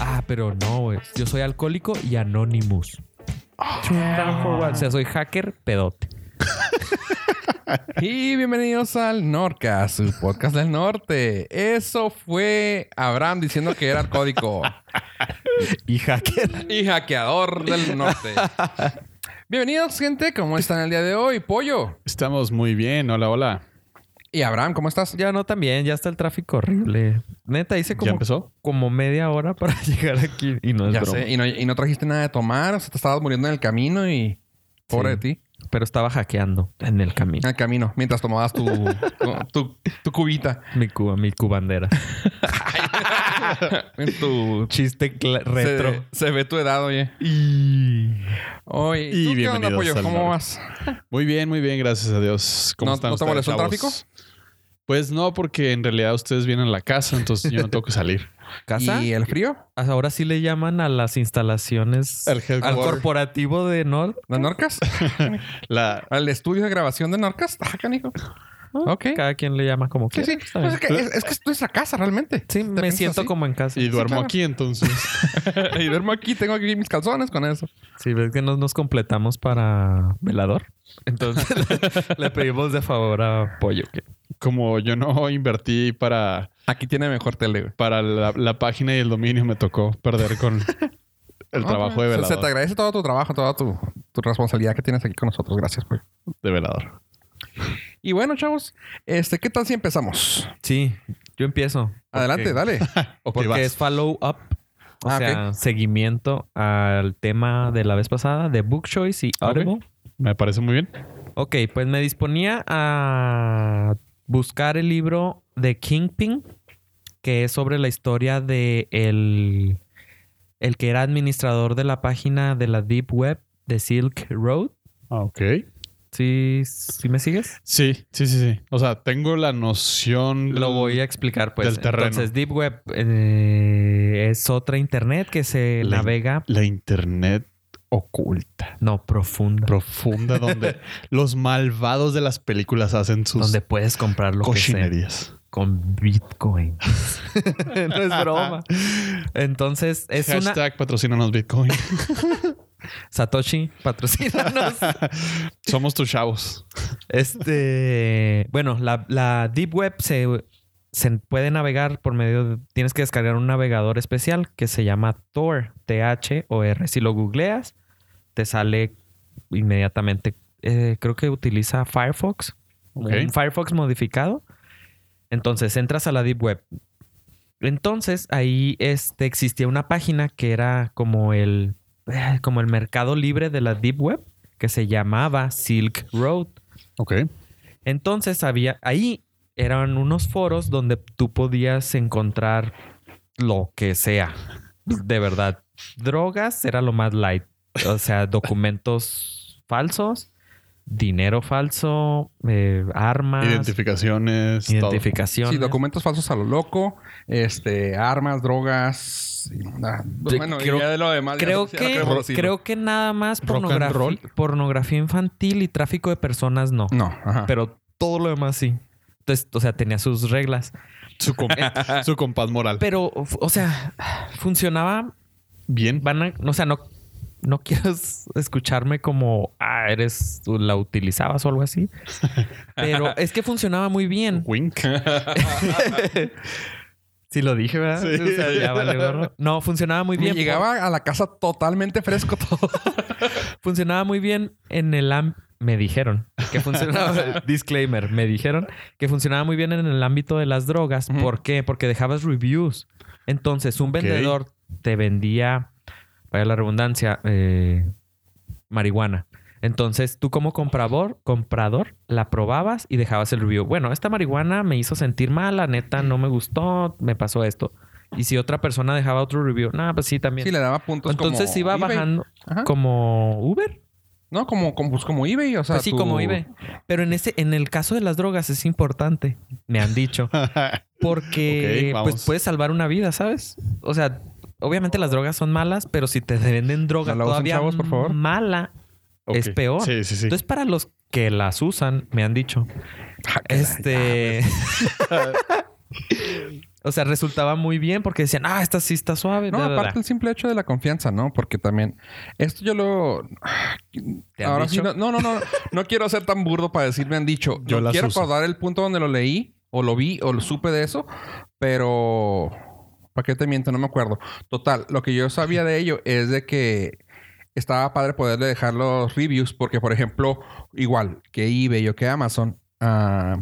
Ah, pero no, güey. Yo soy alcohólico y Anonymous. Stand for what? O sea, soy hacker pedote. Y bienvenidos al Norca, su podcast del norte. Eso fue Abraham diciendo que era código Y hacker. y hackeador del norte. Bienvenidos, gente. ¿Cómo están el día de hoy? Pollo. Estamos muy bien. Hola, hola. Y Abraham, ¿cómo estás? Ya no también, ya está el tráfico horrible. Neta, hice como, empezó? como media hora para llegar aquí y no es Ya broma. sé. Y no, y no trajiste nada de tomar. O sea, te estabas muriendo en el camino y... Pobre Sí. de ti. Pero estaba hackeando en el En camino. el camino. Mientras tomabas tu, tu, tu- tu cubita. Mi cuba, mi cubandera. En tu... Chiste cla- Se- retro. Se, ve tu edad, oye. Y... Oye, Y ¿tú qué onda, bienvenidos pollo? al ¿Cómo norte. vas? Muy bien, muy bien. Gracias a Dios. ¿Cómo ¿No- están no te ustedes, molestó el chavos? Pues no, porque en realidad ustedes vienen a la casa, entonces yo no tengo que salir. ¿Casa? ¿Y el frío? Ahora sí le llaman a las instalaciones... al El headquarter. corporativo de Nord. ¿Las Norcas? La, ¿Al estudio de grabación de Norcas? Ah, canijo. Ok. Cada quien le llama como Sí, quiera. sí. Está Pues bien. es, que, es, es que es nuestra casa realmente. Sí, ¿Te me piensas siento así? como en casa. y duermo claro. aquí, entonces. y duermo aquí, tengo aquí mis calzones con eso. Si ves que no nos completamos para velador, entonces le, le pedimos de favor a Pollo que Como yo no invertí para, Aquí tiene mejor tele, güey. para la, la página y el dominio, me tocó perder con el No, trabajo de Ah, se- Se, te velador. agradece todo tu trabajo, toda tu, tu responsabilidad que tienes aquí con nosotros. Gracias, güey. De velador. Y bueno, chavos, este, ¿qué tal si empezamos? sí, yo empiezo. Adelante, Porque- dale. Ok, Porque vas. es follow up. O Ah, sea, seguimiento al tema de la vez pasada de Book Choice y Audible. Me parece muy bien. Ok, pues me disponía a buscar el libro de Kingpin, que es sobre la historia de el, el que era administrador de la página de la Deep Web de Silk Road. Ah, ok. ¿Sí, sí me sigues? Sí, sí, sí, sí. O sea, tengo la noción. Lo voy a explicar, pues. Del terreno. Entonces, Deep Web eh, es otra internet que se La- navega, La internet oculta, no, profunda. profunda, donde los malvados de las películas hacen sus donde puedes comprar lo que sea. cochinerías. con Bitcoin. no es broma. Entonces, es una. Hashtag patrocínanos Bitcoin. Satoshi, patrocínanos. Somos tus chavos. este. Bueno, la, la Deep Web se, se puede navegar por medio. de- tienes que descargar un navegador especial que se llama Tor, T-H-O-R. Si lo googleas, te sale inmediatamente. eh, creo que utiliza Firefox. Ok. un Firefox modificado. Entonces entras a la Deep Web. Entonces ahí este, existía una página que era como el, eh, como el mercado libre de la Deep Web que se llamaba Silk Road. Ok. Entonces había ahí eran unos foros donde tú podías encontrar lo que sea. De verdad, drogas era lo más light, o sea, documentos falsos, dinero falso, eh, armas, Identificaciones. todo. identificaciones. Sí, documentos falsos a lo loco, este, armas, drogas. y- ah, Sí, bueno, y creo- ya de lo demás. ya Creo no- ya no que, queremos decirlo. creo que nada más Rock and pornografi- roll. pornografía infantil y tráfico de personas no, No, ajá. pero todo lo demás sí. Entonces, o sea, tenía sus reglas. Su, comp- su compás moral. Pero, o sea, funcionaba. Bien. Van a, o sea, no, no quieres escucharme como, ah, eres, tú la utilizabas o algo así. Pero es que funcionaba muy bien. Wink. Sí, lo dije, ¿verdad? Sí. O sea, ya vale, gorro. no, funcionaba muy Me bien. llegaba a la casa totalmente fresco todo. Funcionaba muy bien en el am- Me dijeron que funcionaba. disclaimer, me dijeron que funcionaba muy bien en el ámbito de las drogas. Ujú. ¿Por qué? Porque dejabas reviews. Entonces, un vendedor te vendía, vaya la redundancia, eh, marihuana. Entonces, tú como comprador, comprador, la probabas y dejabas el review. Bueno, esta marihuana me hizo sentir mal, la neta, no me gustó, me pasó esto. Y si otra persona dejaba otro review, no, pues sí, también. Sí, le daba puntos Entonces como iba eBay. bajando Ajá. como Uber. No, como, como, pues, como eBay, o sea. Pues sí, tu- como eBay. Pero en ese, en el caso de las drogas es importante, me han dicho. Ok, Porque vamos. pues puedes salvar una vida, ¿sabes? O sea, obviamente las drogas son malas, pero si te venden droga No la usen, todavía chavos, por favor. mala, Ok. Es peor. Sí, sí, sí. entonces para los que las usan, me han dicho. Ah, que la- Este. O sea, resultaba muy bien porque decían, ah, esta sí está suave. No, da, da, da". aparte el simple hecho de la confianza, ¿no? Porque también esto yo lo ¿Te han ahora sí dicho? no, no, no, no, no quiero ser tan burdo para decir me han dicho. Yo Yo las quiero uso. acordar el punto donde lo leí o lo vi o lo supe de eso, pero ¿para qué te miento? No me acuerdo. Total, lo que yo sabía de ello es de que estaba padre poderle dejar los reviews porque por ejemplo, igual que eBay o que Amazon ah,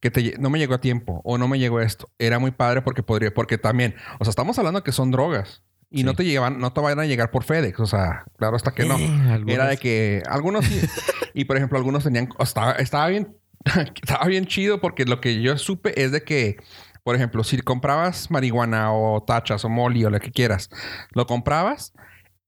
que te lle- no me llegó a tiempo o no me llegó esto. Era muy padre porque podría, porque también, o sea, estamos hablando que son drogas y Sí. no te llevan, no te van a llegar por FedEx, o sea, claro hasta que no. Eh, algunos- Era de que algunos sí- y por ejemplo algunos tenían o estaba, estaba bien estaba bien chido porque lo que yo supe es de que por ejemplo, si comprabas marihuana o tachas o molly o lo que quieras, lo comprabas,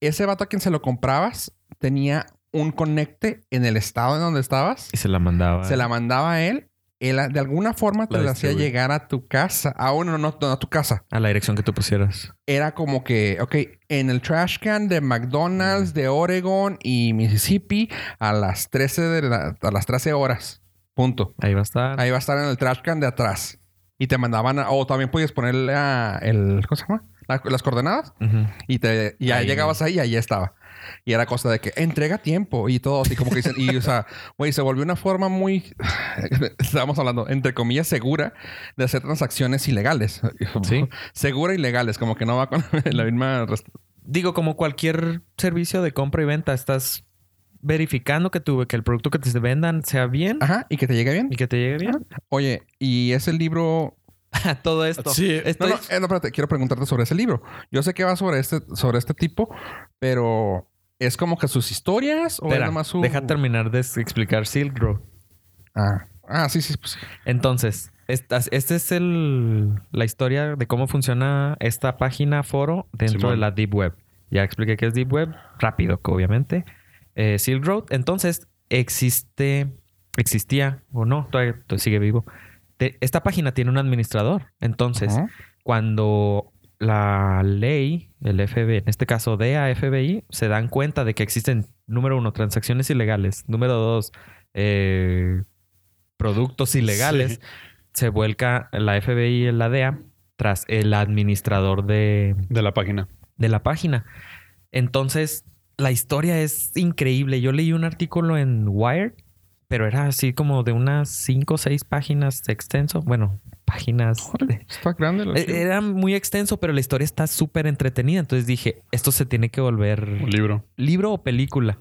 ese vato a quien se lo comprabas tenía un conecte en el estado en donde estabas Y se la mandaba. se la mandaba a él. Él a- de alguna forma te La la hacía distribuía. llegar a tu casa. Aún no, no, no a tu casa. A la dirección que tú pusieras. Era como que, ok, en el trash can de McDonald's de Oregon y Mississippi a las 13, de la- a las 13 horas. Punto. Ahí va a estar. Ahí va a estar en el trash can de atrás. Y te mandaban, a- o también podías ponerle a el, ¿cómo se llama? La- las coordenadas. Ujú. Y te, ya Ahí. llegabas ahí y ahí estaba. Y era cosa de que entrega tiempo y todo así como que dicen, y o sea, güey, se volvió una forma muy, estábamos hablando, entre comillas, segura de hacer transacciones ilegales. Sí. Segura y legales, como que no va con la misma... res- Digo, como cualquier servicio de compra y venta, estás verificando que, tu, que el producto que te vendan sea bien Ajá, y que te llegue bien. y que te llegue bien. Oye, y ese libro... Todo esto. Sí. Estoy- No, no, eh, no, espérate, quiero preguntarte sobre ese libro. Yo sé que va sobre este, sobre este tipo, pero... ¿Es como que sus historias o Espera, es nomás su...? deja terminar de explicar Silk Road. Ah, ah, sí, sí, pues, Entonces, esta, esta es el, la historia de cómo funciona esta página foro dentro Simón. de la Deep Web. Ya expliqué qué es Deep Web, rápido, que obviamente. Eh, Silk Road, entonces, existe, existía o no, todavía, todavía sigue vivo. Te- esta página tiene un administrador. Entonces, ajá. cuando la ley, el FBI, en este caso DEA, FBI, se dan cuenta de que existen, número uno, transacciones ilegales, número dos, eh, productos ilegales, Sí. se vuelca la FBI y la DEA tras el administrador de, De la página. de la página. Entonces, la historia es increíble. Yo leí un artículo en Wired, pero era así como de unas cinco o seis páginas extenso. Bueno, páginas... Órale, Está grande. el Eh, archivo. Era muy extenso, pero la historia está súper entretenida. Entonces dije, esto se tiene que Un volver libro. libro o película.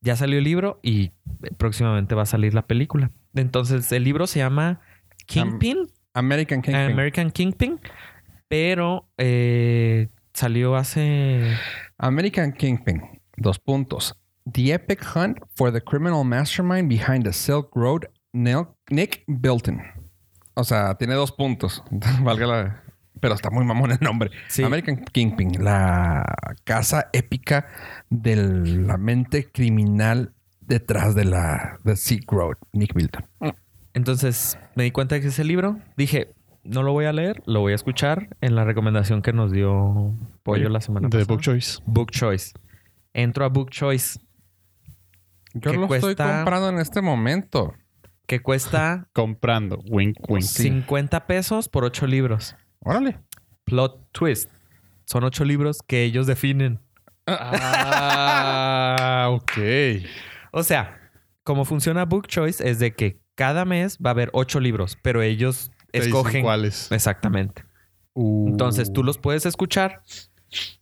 Ya salió el libro y próximamente va a salir la película. Entonces, el libro se llama Kingpin, American King. American Kingpin, pero eh, salió hace... American Kingpin. Dos puntos. The epic hunt for the criminal mastermind behind the Silk Road, Nel- Nick Bilton. O sea, tiene dos puntos. Valga la... Pero está muy mamón el nombre. Sí. American Kingpin, la casa épica de la mente criminal detrás de la de Silk Road, Nick Bilton. Entonces, me di cuenta que ese libro, dije, no lo voy a leer, lo voy a escuchar en la recomendación que nos dio Pollo la semana De pasada. Book Choice. Book Choice. Entro a Book Choice, Yo ¿Qué lo estoy cuesta? comprando en este momento. que cuesta Comprando. Wink, wink. Sí. 50 pesos por 8 libros. Órale. Plot twist. Son 8 libros que ellos definen. Ah, ok. O sea, como funciona Book Choice es de que cada mes va a haber 8 libros, pero ellos Te dicen escogen. ¿Cuáles? Exactamente. Uh. Entonces tú los puedes escuchar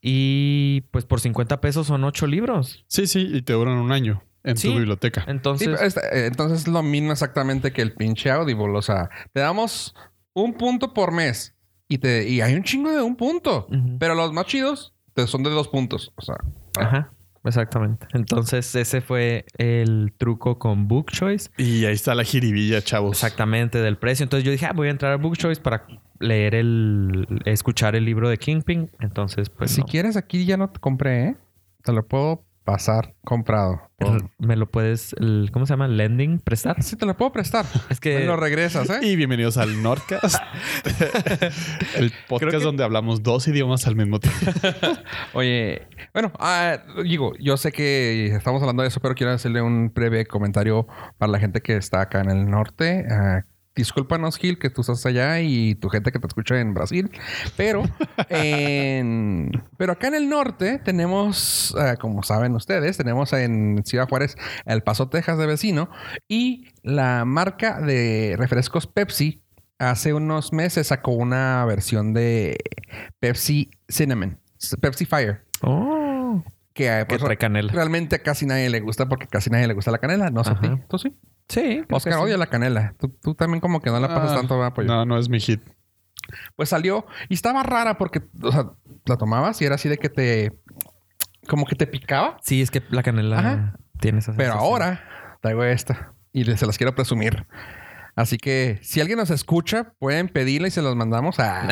y pues por 50 pesos son 8 libros. Sí, sí, y te duran un año en Sí. tu biblioteca. Sí, Entonces, pero esta- eh, entonces es lo mismo exactamente que el pinche Audible. O sea, te damos un punto por mes y, te, y hay un chingo de un punto. Ujú. Pero los más chidos te son de dos puntos. O sea, ajá, exactamente. Entonces ese fue el truco con Book Choice. Y ahí está la jiribilla, chavos. Exactamente, del precio. Entonces yo dije, ah, voy a entrar a Book Choice para leer el, escuchar el libro de Kingpin. Entonces, pues si no. quieres, aquí ya no te compré, ¿eh? Te lo puedo pasar comprado. R- me lo puedes, el- ¿cómo se llama? Lending, prestar. Sí, te lo puedo prestar. Es Me que lo regresas, ¿eh? Y bienvenidos al Nordcast, el podcast Creo que- donde hablamos dos idiomas al mismo tiempo. Oye, bueno, ah, digo, yo sé que estamos hablando de eso, pero quiero hacerle un breve comentario para la gente que está acá en el norte. Ah, discúlpanos, Gil, que tú estás allá y tu gente que te escucha en Brasil. Pero, en- pero acá en el norte tenemos, ah, como saben ustedes, tenemos en Ciudad Juárez El Paso, Texas de vecino. Y la marca de refrescos Pepsi hace unos meses sacó una versión de Pepsi Cinnamon, Pepsi Fire. Oh, Que, eh, que pues, trae canela. realmente casi nadie le gusta porque casi nadie le gusta la canela. No sé a ti. Ajá. ¿Tú Pues sí? Sí. creo Oscar que sí. odia la canela. Tú, tú también como que no la pasas Ah, tanto, ¿verdad, pollo? No, no es mi hit. Pues salió y estaba rara porque, o sea, la tomabas y era así de que te... Como que te picaba. Sí, es que la canela Ajá. tiene esa Pero sensación. ahora traigo esta y les- se las quiero presumir. Así que si alguien nos escucha, pueden pedirla y se las mandamos a...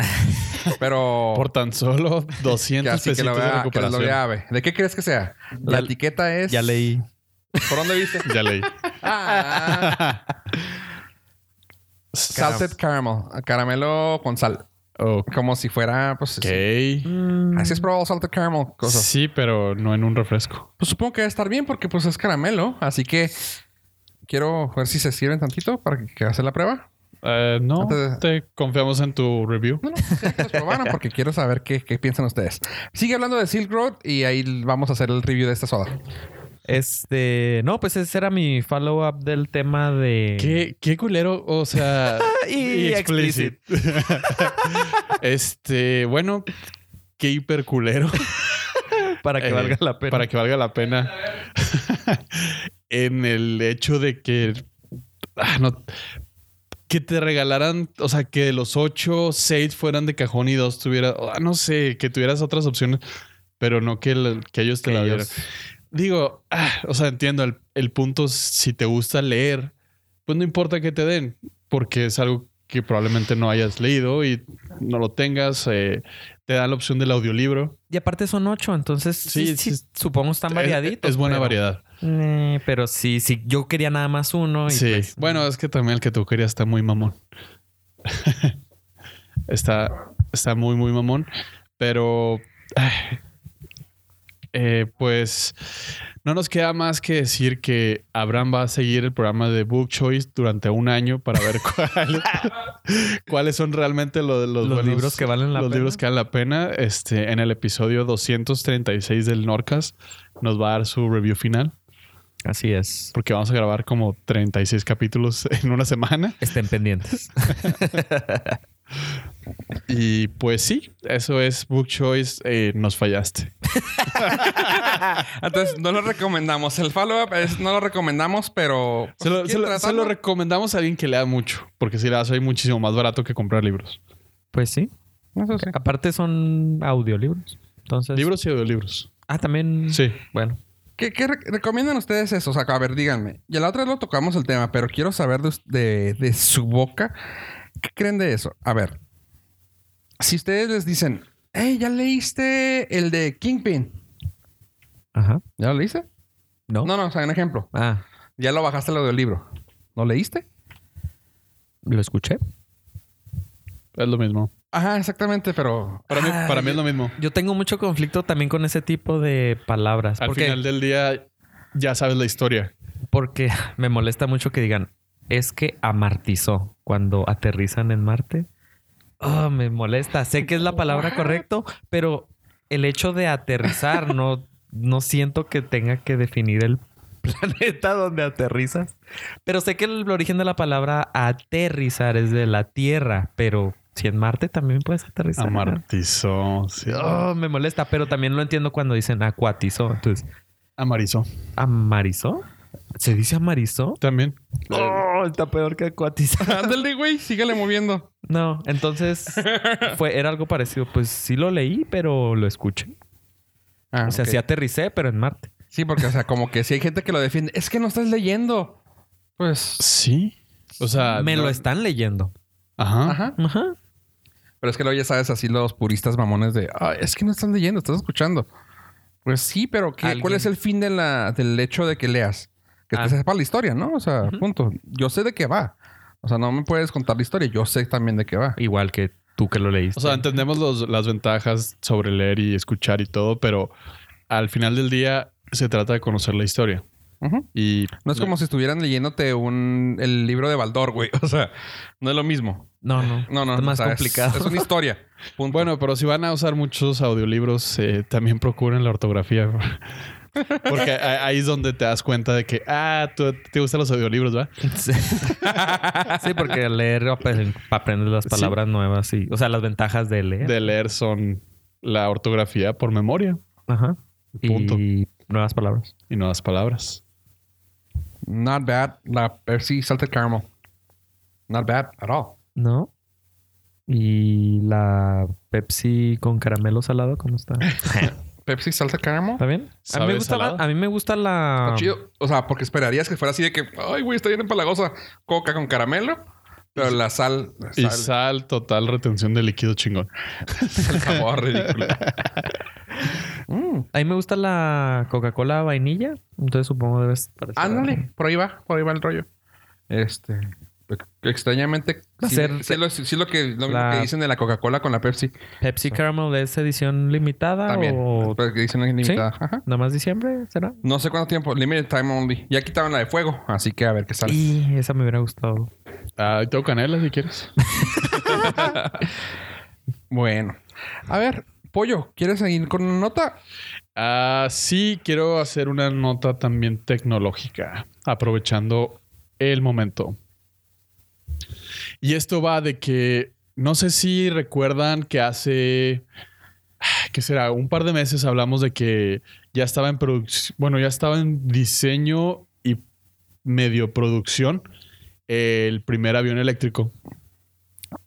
Pero... Por tan solo 200 así Oh. que pesitos lo de vea, que lo recuperación. vea Ave. ¿De qué crees que sea? La Ya- etiqueta es... Ya leí. ¿Por dónde viste? Ya leí. Ah. Salted caramel, caramelo con sal. ok. Como si fuera, pues. Mm, Así es probado salted caramel. Cosa. Sí, pero no en un refresco. Pues supongo que va a estar bien porque, pues, es caramelo. Así que quiero ver si se sirven tantito para que- que hacer la prueba. Eh, no, Antes te confiamos en tu review. No, no, quiero que los probaran pues, porque quiero saber qué, qué piensan ustedes. Sigue hablando de Silk Road y ahí vamos a hacer el review de esta soda. Este, no, pues ese era mi follow-up del tema de... Qué, qué culero, o sea... Y explicit. este, bueno, qué hiper culero. Para que Eh, valga la pena. Para que valga la pena. en el hecho de que. ah, no, que te regalaran, o sea, que de los ocho, seis fueran de cajón y dos tuviera, ah, no sé, que tuvieras otras opciones, pero no que, el- que ellos te Que la ellos- dieran. Digo, ah, o sea, entiendo, el, el punto, es si te gusta leer, pues no importa que te den, porque es algo que probablemente no hayas leído y no lo tengas, eh, te da la opción del audiolibro. Y aparte son ocho, entonces Sí, sí, sí, sí. supongo están Es- variaditos. Es, buena pero- variedad. Eh, pero sí, sí, yo quería nada más uno. Y sí. pues, bueno, es que también el que tú querías está muy mamón. está, está muy, muy mamón. Pero, ay, eh, pues, no nos queda más que decir que Abraham va a seguir el programa de Book Choice durante un año para ver cuál- cuáles son realmente lo de los, los, buenos- libros que valen la los pena. libros que valen la pena. Este, en el episodio 236 del Norcas nos va a dar su review final Así es. porque vamos a grabar como 36 capítulos en una semana. Estén pendientes. Y pues sí, eso es Book Choice. eh, nos fallaste. Entonces, no lo recomendamos. El follow-up es no lo recomendamos, pero. pues, Se lo, ¿quieren se lo- se tratarlo? lo recomendamos a alguien que lea mucho, porque si le das hay muchísimo más barato que comprar libros. Pues sí. Eso sí. Aparte son audiolibros. Entonces. Libros y audiolibros. Ah, también. Sí. Bueno. ¿Qué, qué re- recomiendan ustedes eso? O sea, a ver, díganme. Ya la otra vez lo tocamos el tema, pero quiero saber de, us- de- de su boca. ¿Qué creen de eso? A ver. Si ustedes les dicen, hey, ya leíste el de Kingpin. Ajá. ¿Ya lo leíste? No. No, no, o sea, un ejemplo. Ah, Ya lo bajaste lo del libro. ¿Lo leíste? lo escuché. Es lo mismo. Ajá, exactamente, pero. Para mí, Ay. para mí es lo mismo. Yo tengo mucho conflicto también con ese tipo de palabras. Al porque, final del día ya sabes la historia. porque me molesta mucho que digan, es que amartizó cuando aterrizan en Marte. Ah, me molesta. Sé que es la palabra What? correcta, pero el hecho de aterrizar no, no siento que tenga que definir el planeta donde aterrizas. Pero sé que el origen de la palabra aterrizar es de la Tierra, pero si en Marte también puedes aterrizar. Amartizó. sí. Ah, Oh, me molesta, pero también lo entiendo cuando dicen acuatizó. Entonces, Amarizó. ¿amarizó? ¿Se dice amarizó? También. Oh, está peor que acuatizó. Ándale, güey, síguele moviendo. No, entonces fue, era algo parecido. Pues sí lo leí, pero lo escuché. Ah, O sea, ok. sí aterricé, pero en Marte. sí, porque, o sea, como que si hay gente que lo defiende, es que no estás leyendo. Pues. Sí. O sea. me no- lo están leyendo. Ajá. Ah, Ajá. Ajá. Pero es que luego ya sabes así los puristas mamones de, "Ah, es que no están leyendo, estás escuchando. Pues sí, pero ¿qué- ¿cuál Alguien. es el fin de la, del hecho de que leas? Que Ah. te sepa la historia, ¿no? O sea, Ujú. punto. Yo sé de qué va. O sea, no me puedes contar la historia, yo sé también de qué va. Igual que tú que lo leíste. O sea, entendemos los- las ventajas sobre leer y escuchar y todo, pero al final del día se trata de conocer la historia. Ujú. Y No es como si estuvieran leyéndote un, el libro de Baldor, güey. O sea, no es lo mismo. No, no. No, no. Está más o sea, complicado. Es, es una historia. Punto. Bueno, pero si van a usar muchos audiolibros, eh, también procuren la ortografía. Porque a- ahí es donde te das cuenta de que, ah, tú te gustan los audiolibros, ¿va? Sí, Sí, porque leer para aprender las Sí. palabras nuevas y, o sea, las ventajas de leer. De leer son la ortografía por memoria Ajá. Punto. Y nuevas palabras. y nuevas palabras. Not bad. La Pepsi Salted Caramel. Not bad at all. ¿No? Y la Pepsi con caramelo salado, ¿cómo está? ¿Está Pepsi Salted Caramel. bien? A mí, ¿Sabe me gusta la, salado? a mí me gusta la... Está chido. O sea, porque esperarías que fuera así de que, ay, güey, está bien empalagosa. Coca con caramelo. Pero la sal, la Y sal, sal, total retención de líquido chingón. el sabor ridículo. Mm, A mí me gusta la Coca-Cola vainilla. Entonces supongo debes... parecer- ándale, por ahí va, por ahí va el rollo. Este, extrañamente, Va a sí, ser- sí lo, sí lo que, lo mismo la- que dicen de la Coca-Cola con la Pepsi. ¿Pepsi Caramel es edición limitada También. o Pues, Pero que dicen es limitada. Ajá. nada más diciembre? ¿Será? No sé cuánto tiempo, limited time only. Ya quitaron la de fuego, así que a ver qué sale. Y esa me hubiera gustado. Ah, tengo canela si quieres. Bueno, a ver, Pollo, ¿quieres seguir con una nota? Ah, sí, quiero hacer una nota también tecnológica, aprovechando el momento. Y esto va de que no sé si recuerdan que hace, ah, ¿qué será? Un par de meses hablamos de que ya estaba en producción, bueno, ya estaba en diseño y medio producción el primer avión eléctrico.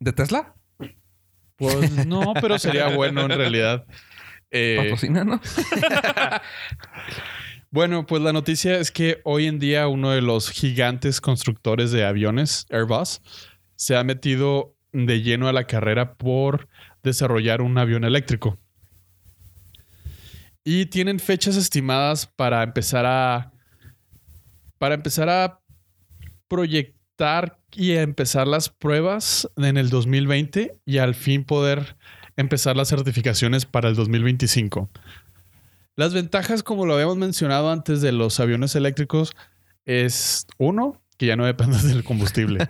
¿De Tesla? Pues no, pero sería bueno en realidad. Eh, Patrocínanos. Bueno, pues la noticia es que hoy en día uno de los gigantes constructores de aviones, Airbus, se ha metido de lleno a la carrera por desarrollar un avión eléctrico. Y tienen fechas estimadas para empezar a para empezar a proyectar y a empezar las pruebas en el 2020 y al fin poder empezar las certificaciones para el 2025. Las ventajas, como lo habíamos mencionado antes de los aviones eléctricos, es uno, que ya no dependes del combustible.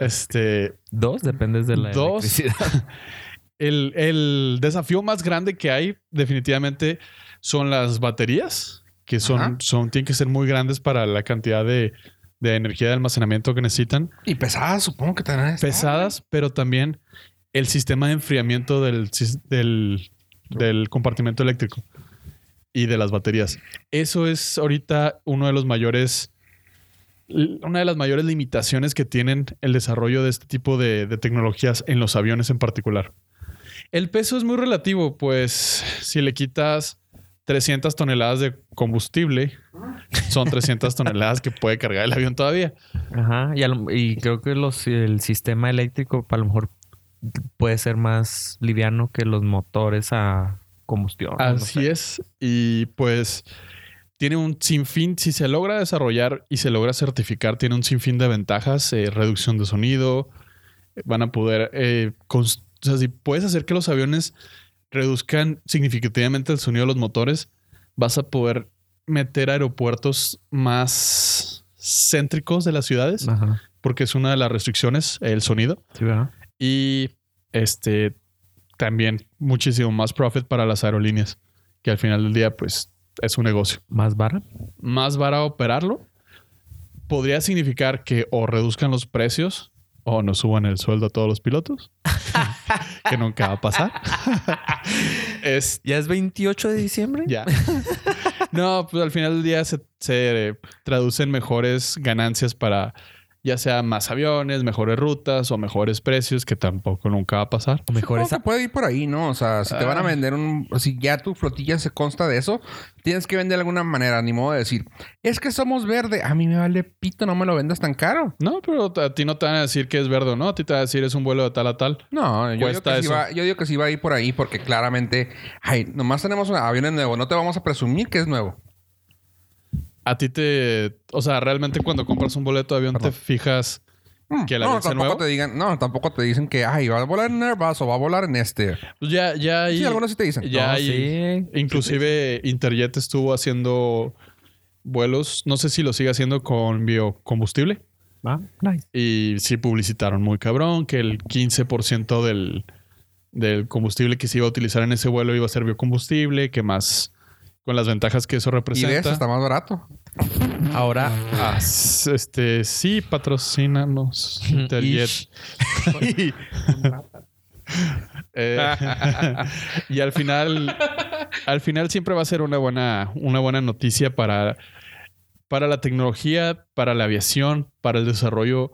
este, Dos, dependes de la Dos. electricidad. el, el desafío más grande que hay definitivamente son las baterías, que Ajá. son, son tienen que ser muy grandes para la cantidad de, de energía de almacenamiento que necesitan. Y pesadas, supongo que tendrán. que estar, Pesadas, pero también el sistema de enfriamiento del, sis- del, del compartimento eléctrico y de las baterías. Eso es ahorita uno de los mayores, una de las mayores limitaciones que tienen el desarrollo de este tipo de, de tecnologías en los aviones en particular. El peso es muy relativo, pues si le quitas 300 toneladas de combustible, son 300 toneladas que puede cargar el avión todavía. Ajá. Y, a lo- y creo que los, el sistema eléctrico a lo mejor puede ser más liviano que los motores a combustión. Así es. Y pues tiene un sinfín, si se logra desarrollar y se logra certificar, tiene un sinfín de ventajas, eh, reducción de sonido, eh, van a poder, eh, cons- o sea, si puedes hacer que los aviones reduzcan significativamente el sonido de los motores, vas a poder meter aeropuertos más céntricos de las ciudades, Ajá. porque es una de las restricciones, el sonido Sí, ¿verdad? y este también muchísimo más profit para las aerolíneas, que al final del día pues es un negocio. Más vara. Más barato operarlo podría significar que o reduzcan los precios o no suban el sueldo a todos los pilotos, que nunca va a pasar. es ¿Ya es 28 de diciembre? ya. No, pues al final del día se, se, eh, traducen mejores ganancias para ya sea más aviones, mejores rutas o mejores precios, que tampoco nunca va a pasar. O mejor Supongo que esa... puede ir por ahí, ¿no? O sea, si te van a Ah. vender un... Si ya tu flotilla se consta de eso, tienes que vender de alguna manera. Ni modo de decir, es que somos verde. A mí me vale pito, no me lo vendas tan caro. No, pero a ti no te van a decir que es verde o no. A ti te van a decir es un vuelo de tal a tal. No, yo digo, Cuesta que sí eso. va, yo digo que sí va a ir por ahí porque claramente... Ay, nomás tenemos un avión nuevo. No te vamos a presumir que es nuevo. A ti te... O sea, realmente cuando compras un boleto de avión te fijas... Mm, ¿Que el no, avión sea tampoco nuevo? te digan... No, tampoco te dicen que... Ay, va a volar en Airbus o va a volar en este. Pues ya, ya ahí... Sí, algunos sí te dicen. Ya No, ahí- sí. Inclusive Interjet estuvo haciendo vuelos, no sé si lo sigue haciendo con biocombustible. Ah, nice. Y sí publicitaron muy cabrón que el 15% del, del combustible que se iba a utilizar en ese vuelo iba a ser biocombustible, que más con las ventajas que eso Y representa. de eso está más barato. Ahora, Ah, s- este, sí, patrocínanos Interjet. Eh, y al final, al final siempre va a ser una buena, una buena noticia para, para la tecnología, para la aviación, para el desarrollo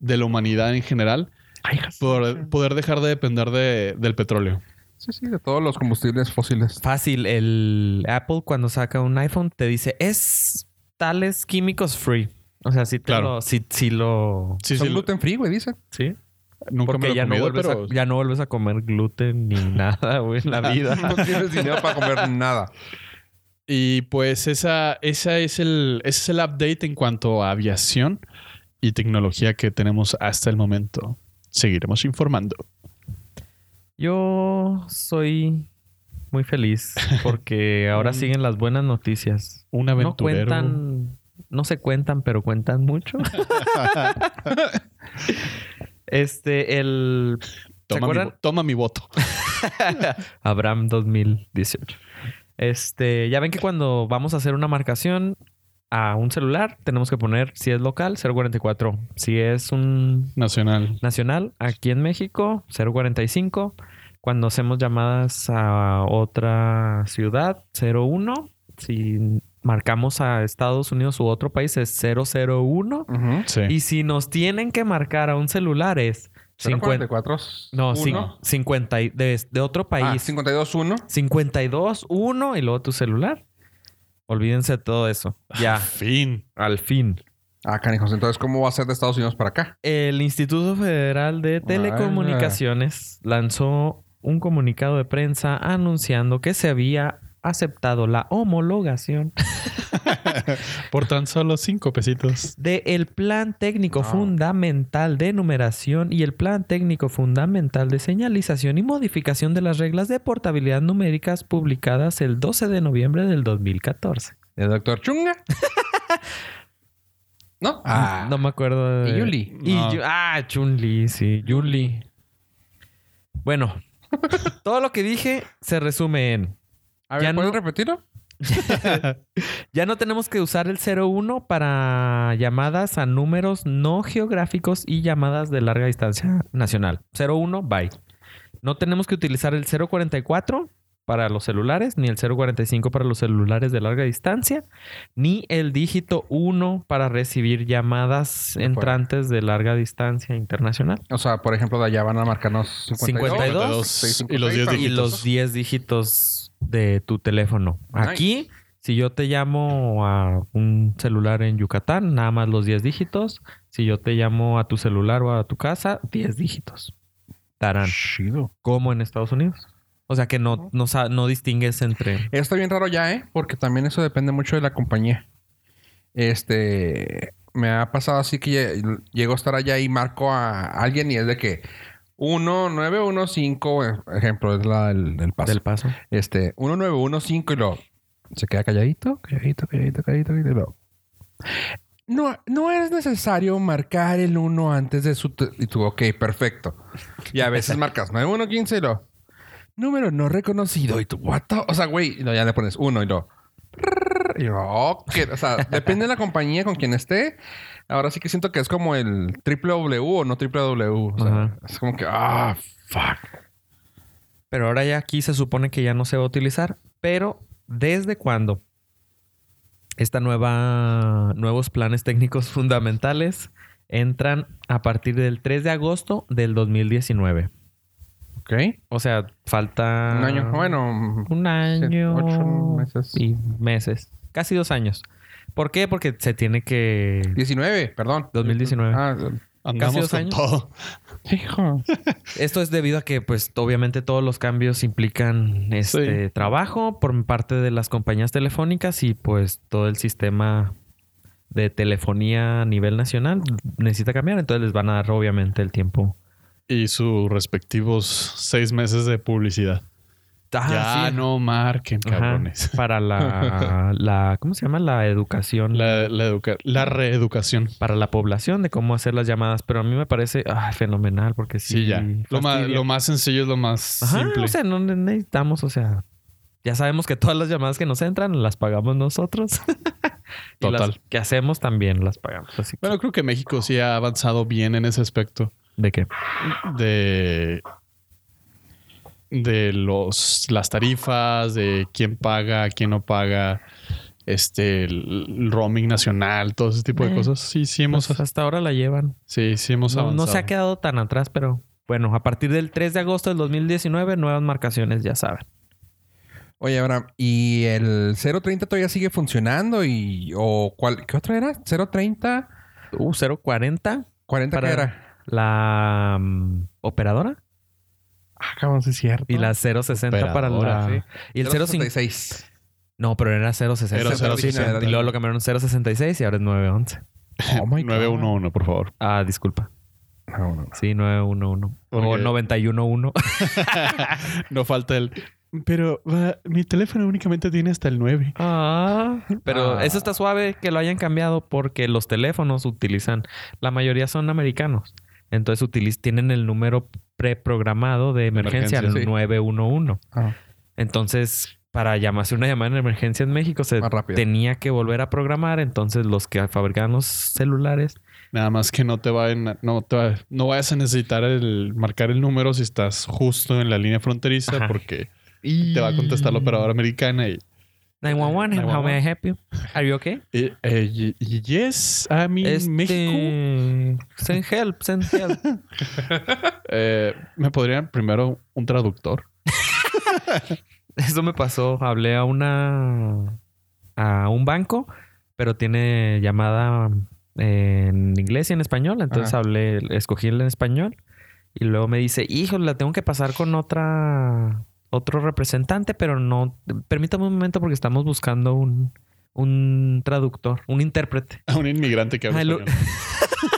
de la humanidad en general, ay, hija, poder, poder dejar de depender de- del petróleo. Sí, sí, de todos los combustibles fósiles. fácil. El Apple cuando saca un iPhone te dice es tales químicos free. O sea, si Claro. lo, si, lo, Sí, Son sí, gluten free, güey, dice. sí, nunca me porque lo he ya no comido, vuelves pero a, ya no vuelves a comer gluten ni nada, güey, en la vida. No tienes dinero para comer nada. Y pues esa, esa es el, ese es el update en cuanto a aviación y tecnología que tenemos hasta el momento. Seguiremos informando. Yo soy muy feliz porque Mm. ahora siguen las buenas noticias. Un No aventurero. cuentan, no se cuentan, pero cuentan mucho. este, el ¿Se toma, mi, acuerdan? vo- toma mi voto. Abraham 2018. Este, ya ven que cuando vamos a hacer una marcación a un celular, tenemos que poner si es local 044, si es un Nacional. nacional aquí en México 045, cuando hacemos llamadas a otra ciudad 01, si marcamos a Estados Unidos u otro país es 001 Ujú. Sí. y si nos tienen que marcar a un celular es 50 044. no, cin- Uno. 50 y- de, de otro Ah, país. 52-1. 52, 1 y luego tu celular. Olvídense de todo eso. Ya, Fin. al fin. Ah, canijos. Entonces, ¿cómo va a ser de Estados Unidos para acá? El Instituto Federal de Telecomunicaciones lanzó un comunicado de prensa anunciando que se había aceptado la homologación Por tan solo cinco pesitos. del Plan Técnico Ah. Fundamental de Numeración y el Plan Técnico Fundamental de Señalización y Modificación de las Reglas de Portabilidad Numéricas publicadas el 12 de noviembre del 2014. ¿El doctor Chunga? ¿No? Ah. No me acuerdo de... ¿Y Yuli? Y No. Yu- Ah, Chun-Li, sí. Yuli. Bueno. todo lo que dije se resume en... A ver, Ya ¿puedes no- repetirlo? Ya no tenemos que usar el 01 para llamadas a números no geográficos y llamadas de larga distancia nacional. 01, bye. No tenemos que utilizar el 044 para los celulares, ni el 045 para los celulares de larga distancia, ni el dígito 1 para recibir llamadas acuerdo. entrantes de larga distancia internacional. O sea, por ejemplo, de allá van a marcarnos 52. 52. 52 y los 10 Y y dígitos. los 10 dígitos de tu teléfono. Nice. Aquí, si yo te llamo a un celular en Yucatán, nada más los 10 dígitos. Si yo te llamo a tu celular o a tu casa, 10 dígitos. Tarán. Chido. Como en Estados Unidos. O sea que no, no, sa- no distingues entre... Está bien raro ya, ¿eh? Porque también eso depende mucho de la compañía. Este. Me ha pasado así que lle- llego a estar allá y marco a alguien y es de que 1915, ejemplo, es la del, del paso. Del paso. Este, 1915 y lo se queda calladito, calladito, calladito, calladito, calladito, y luego, No, no es necesario marcar el 1 antes de su. te- Y tú, ok, perfecto. Y a veces marcas 9115 y lo. Número no reconocido. Y tú, what the-" O sea, güey, y luego ya le pones 1 y lo. Y yo, ok. O sea, depende de la compañía con quien esté. Ahora sí que siento que es como el triple W o no triple W. O sea, Ajá. es como que, ah, fuck. Pero ahora ya aquí se supone que ya no se va a utilizar. Pero, ¿desde cuándo? Esta nueva... Nuevos planes técnicos fundamentales entran a partir del 3 de agosto del 2019. Ok. O sea, falta... Un año. Bueno, Un año... ocho meses. Y meses. Casi dos años. ¿Por qué? Porque se tiene que... 19, perdón. 2019. Ah, Casi Andamos dos con años. todo. hijo. Esto es debido a que, pues, obviamente todos los cambios implican este trabajo por parte de las compañías telefónicas y, pues, todo el sistema de telefonía a nivel nacional necesita cambiar. Entonces les van a dar, obviamente, el tiempo. Y sus respectivos seis meses de publicidad. Ah, ya sí. no marquen, Ajá. cabrones. Para la, la- ¿Cómo se llama? La educación. La, la educa- la reeducación. Para la población de cómo hacer las llamadas. Pero a mí me parece ah, fenomenal porque sí. Sí, ya. Lo más, fastidia. lo más sencillo es lo más Ajá, simple. o sea, no ne- necesitamos, o sea, ya sabemos que todas las llamadas que nos entran las pagamos nosotros. Y las Total. que hacemos también las pagamos. Así que, Bueno, creo que México sí ha avanzado bien en ese aspecto ¿De pues, qué? de de los las tarifas, de quién paga, quién no paga, este el, el roaming nacional, todo ese tipo de Eh, cosas. Sí, sí hemos Pues hasta ahora la llevan. sí, sí hemos No, avanzado. no se ha quedado tan atrás, pero bueno, a partir del 3 de agosto del 2019, nuevas marcaciones, ya saben. Oye, Abraham, ¿y el 030 todavía sigue funcionando? y ¿O cuál? ¿Qué otra era? ¿030? Uh, 040, ¿40 Para- qué era? la mm, operadora. Ah, cabrón, sí es cierto. Y la 060 para la. Operadora, Y el 05. No, pero era 060. Era 060. Y luego lo cambiaron a 066 y ahora es 911. Oh my God. Ah, 911, por favor. Ah, disculpa. No, no, no. Sí, 911. O Porque- 911. No falta el pero va, mi teléfono únicamente tiene hasta el 9. Ah, pero Ah. eso está suave que lo hayan cambiado porque los teléfonos utilizan, la mayoría son americanos. Entonces utiliz- tienen el número preprogramado de emergencia, Emergencia, el sí. 911. Ah. Entonces, para llamarse una llamada en emergencia en México, se Más rápido. tenía que volver a programar. Entonces, los que fabricaban los celulares, Nada más que no te vayan a- no te va- no vayas a necesitar el marcar el número si estás justo en la línea fronteriza Ajá. porque te va a contestar Mm. la operadora americana y 911, how may I help you? Are you okay? Eh, eh, y- y- yes, a mí Este, México. Send help, send help. Eh, ¿Me podrían primero un traductor? Eso me pasó. Hablé a una. a un banco, pero tiene llamada eh, en inglés y en español. Entonces Ajá. hablé, escogí el en español. Y luego me dice, hijo, la tengo que pasar con otra. otro representante, pero no. Permítame un momento porque estamos buscando un. un traductor, un intérprete. A un inmigrante que habla Ay, Ah, lo- español.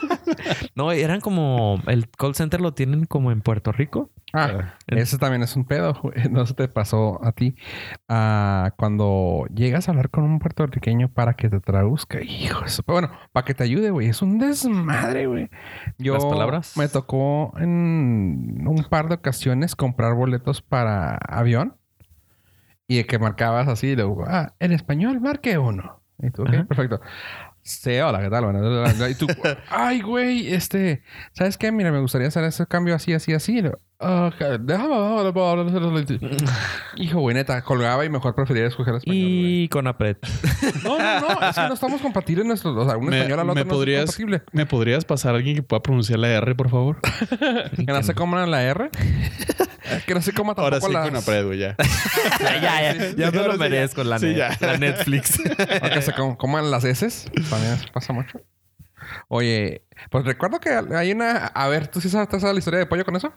No, eran como. El call center lo tienen como en Puerto Rico. Eh, Ah, eso también es un pedo, güey. No se te pasó a ti. Ah, cuando llegas a hablar con un puertorriqueño para que te traduzca, hijo. eso- Pero bueno, para que te ayude, güey. Es un desmadre, güey. Yo ¿Las palabras? me tocó en un par de ocasiones comprar boletos para avión. Y de que marcabas así, y luego, ah, en español marque uno. Y tú, ok, Ajá. perfecto. Sí, hola, ¿qué tal? Bueno, bla, bla, bla. y tú, ay, güey, este, ¿sabes qué? Mira, me gustaría hacer ese cambio así, así, así. Y luego, "Ah, ca- déjame, déjame, déjame, déjame". Hijo, güey, neta, colgaba y mejor prefería escoger español. güey. Y con Apret. No, no, no, es que no estamos compatibles nuestros, o sea, un Me- español al me otro no podrías- es compatible. ¿Me podrías pasar a alguien que pueda pronunciar la R, por favor? Que no se coman la R. que no se coma tampoco Ahora sí las... con Apred, güey, ya. ya, ya, ya, ya me Ahora lo sí, merezco, la, sí, net- ya. la Netflix. O que se com- coman las heces. También pasa mucho. Oye, pues recuerdo que hay una... A ver, ¿tú sí sabes, te sabes la historia de pollo con eso?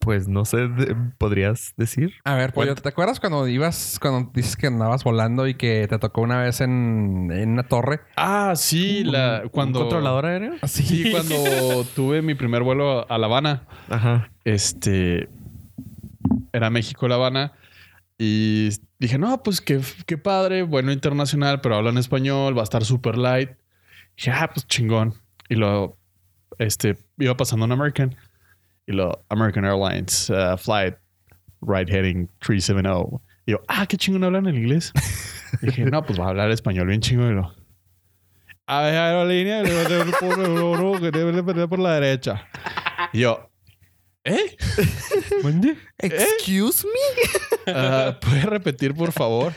pues no sé, de- ¿podrías decir? A ver, pollo, Cuenta. ¿te acuerdas cuando ibas... Cuando dices que andabas volando y que te tocó una vez en, en una torre? Ah, sí, la, cuando... ¿Un controlador aéreo? Ah, Sí, cuando tuve mi primer vuelo a- a La Habana. Ajá. este era México La Habana y dije, no, pues qué, qué padre, bueno internacional, pero hablan español, va a estar super light. Dije, ah, pues chingón. Y lo, este, iba pasando un American y lo, American Airlines, uh, flight, right heading 370. Y yo, ah, qué chingón hablan el inglés. dije, no, pues va a hablar español bien chingón. Y lo, a ver, aerolínea, le voy a dar por- que debe de por la derecha. Y yo, ¿eh? Excuse me. Ah, ¿Puedes repetir, por favor?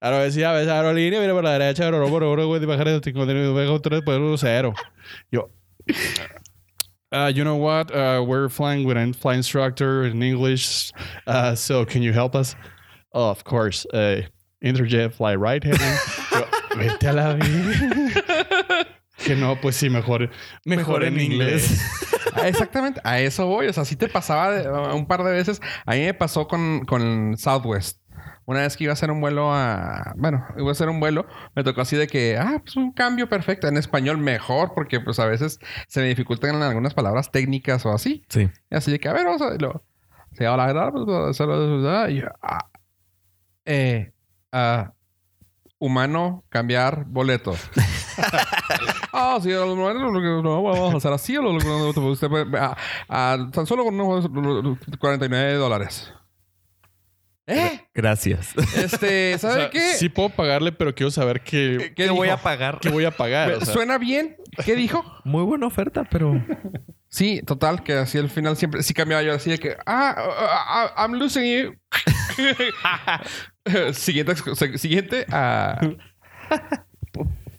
Ahora decía, ves aerolínea, viene por la derecha, pero no por ahora, güey, de bajar el 53, por el pues, cero. Yo, uh, you know what? Uh, we're flying with an flight instructor in English, uh, so can you help us? Oh, of course. Uh, Interjet, fly right heading. Yo, Vete a la vida. Que no, pues sí, mejor, mejor, en, inglés. Ah, Exactamente, a eso voy. O sea, sí te pasaba de- a- un par de veces. A mí me pasó con, con Southwest. Una vez que iba a hacer un vuelo a... Bueno, iba a hacer un vuelo. Me tocó así de que... Ah, pues un cambio perfecto. En español mejor. Porque pues a veces se me dificultan algunas palabras técnicas o así. Sí. Así de que, a ver, vamos a verlo. se llevaba la verdad, pues, se lo- ah, y yo, ah, eh, ah, humano, cambiar boleto. Ah, sí, a los humanos lo que no vamos a hacer así, a los que no- usted puede- ah, ah, tan solo con unos 49 dólares. ¿Eh? Gracias. Este, O ¿sabe sea, qué? Eh, Sí puedo pagarle, pero quiero saber qué, ¿Qué voy dijo? a pagar? qué voy a pagar. o sea. ¿Suena bien? ¿Qué dijo? Muy buena oferta, pero Sí, total, que así al final siempre sí cambiaba yo así de que, ah, ah, ah, I'm losing you. siguiente, ex- siguiente, ah,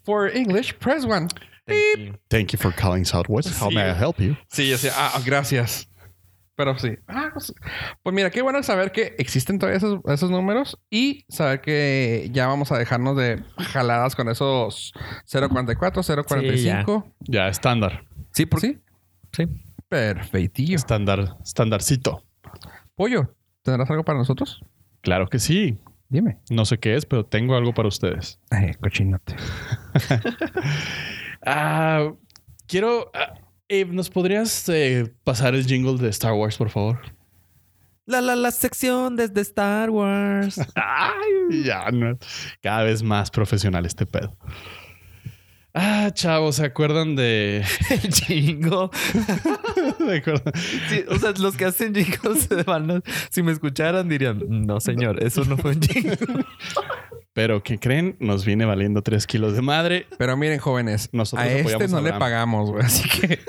for English, press one. Thank you for calling Southwest. How may I help you? Sí, yo decía, ah, gracias. Pero sí. Ah, pues, pues mira, qué bueno saber que existen todavía esos, esos números y saber que ya vamos a dejarnos de jaladas con esos 044, 045. Ya, estándar. Sí, por sí. sí. Perfectillo. Estándar, estandarcito. Pollo, ¿tendrás algo para nosotros? Claro que sí. Dime. No sé qué es, pero tengo algo para ustedes. Ay, Eh, cochinote. Ah, quiero. ah, eh, ¿Nos podrías eh, pasar el jingle de Star Wars, por favor? La la la sección desde Star Wars. Ay, ya no. Cada vez más profesional este pedo. Ah, chavos, ¿se acuerdan de.? El chingo. ¿Se acuerdan? Sí, o sea, los que hacen chingos se van a- Si me escucharan dirían, no señor, eso no fue un chingo. Pero, ¿qué creen? Nos viene valiendo tres kilos de madre Pero miren, jóvenes, Nosotros a este apoyamos a no le Abraham. pagamos, güey. Así que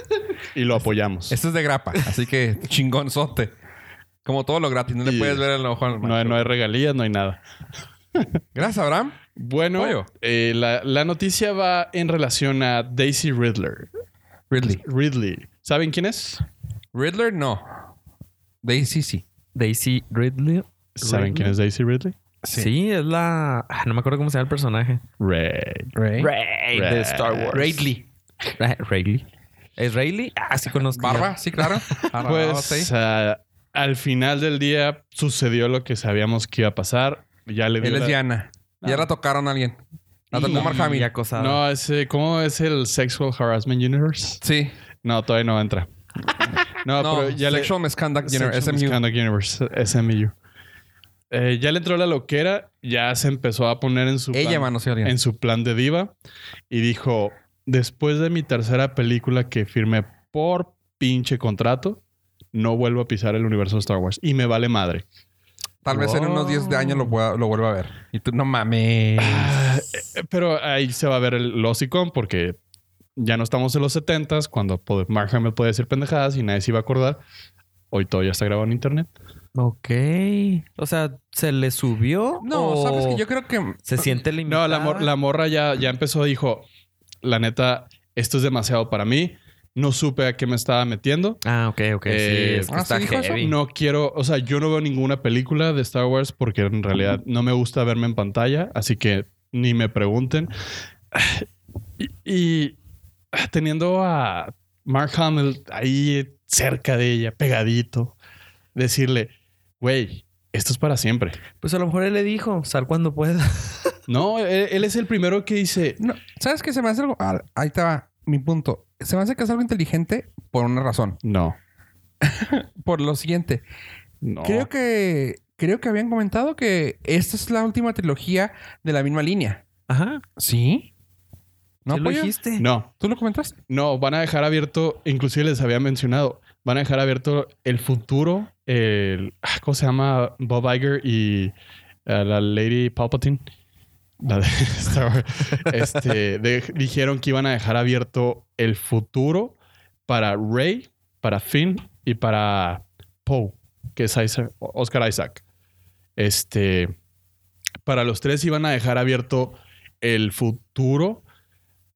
y lo apoyamos. esto es de grapa. Así que chingonzote. Como todo lo gratis, no le Y- puedes ver el ojo al No, hay- no hay regalías, no hay nada. Gracias, Abraham. Pollo. Bueno, eh, la, la noticia va en relación a Daisy Riddler. Ridley. Ridley. ¿Saben quién es? Riddler, no. Daisy, sí. Daisy Ridley. ¿Saben quién es Daisy Ridley? Sí. es la. ah, No me acuerdo cómo se llama el personaje. Ray. Ray. Ray de Star Wars. Ridley. Ra- Rayleigh. ¿Es Rayleigh? Ah, sí conozco. Barba, sí, claro. Arrabado, Pues sí. ah, al final del día sucedió lo que sabíamos que iba a pasar. Ya le dio Él es la- Diana. Ya la tocaron a alguien. La tocó Mark Hamill. Y acosada. No, ese, ¿cómo es el Sexual Harassment Universe? Sí. No, todavía no entra. No, No, Ah, pero ya le... Sexual Misconduct Gener- Sexual SMU. Misconduct Universe, SMU. Eh, ya le entró la loquera, ya se empezó a poner en su, Ella plan, manoseó a alguien. en su plan de diva y dijo, después de mi tercera película que firmé por pinche contrato, no vuelvo a pisar el universo de Star Wars y me vale madre. Tal vez en unos 10 de años Oh. lo, pueda- lo vuelva a ver. Ah, Y tú, no mames. Eh, Pero ahí se va a ver el losicón porque ya no estamos en los 70s cuando pod- Mark Hamill podía decir pendejadas y nadie se iba a acordar. Hoy todo ya está grabado en internet. Ok. O sea, ¿se le subió? No, Oh. o sabes que yo creo que ¿Se siente No, limitada? la, mor- la morra ya, ya empezó, dijo, la neta, esto es demasiado para mí, no supe a qué me estaba metiendo. Ah, ok, ok. sí, Eh, es que ah, está ¿sí dijo eso? heavy. No quiero, o sea, yo no veo ninguna película de Star Wars porque en realidad no me gusta verme en pantalla, así que ni me pregunten. Y, y, ah, teniendo a Mark Hamill ahí cerca de ella, pegadito, decirle, güey, esto es para siempre. Pues a lo mejor él le dijo, sal cuando pueda. No, e, él- él es el primero que dice, No, ¿Sabes qué? Se me hace algo. ah, ahí te va mi punto. Se me hace que es algo inteligente por una razón. no, Por lo siguiente. no. Creo que. Creo que habían comentado que esta es la última trilogía de la misma línea. Ajá. ¿Sí? ¿No, pues, ¿Sí lo Pollo? dijiste? No, ¿Tú lo comentaste? no, van a dejar abierto, inclusive les había mencionado, van a dejar abierto el futuro, el, ah, ¿cómo se llama? Bob Iger y ah, la Lady Palpatine. La de Star Wars. Este, de- dijeron que iban a dejar abierto el futuro para Rey, para Finn y para Poe, que es Isaac- Oscar Isaac. Este, para los tres iban a dejar abierto el futuro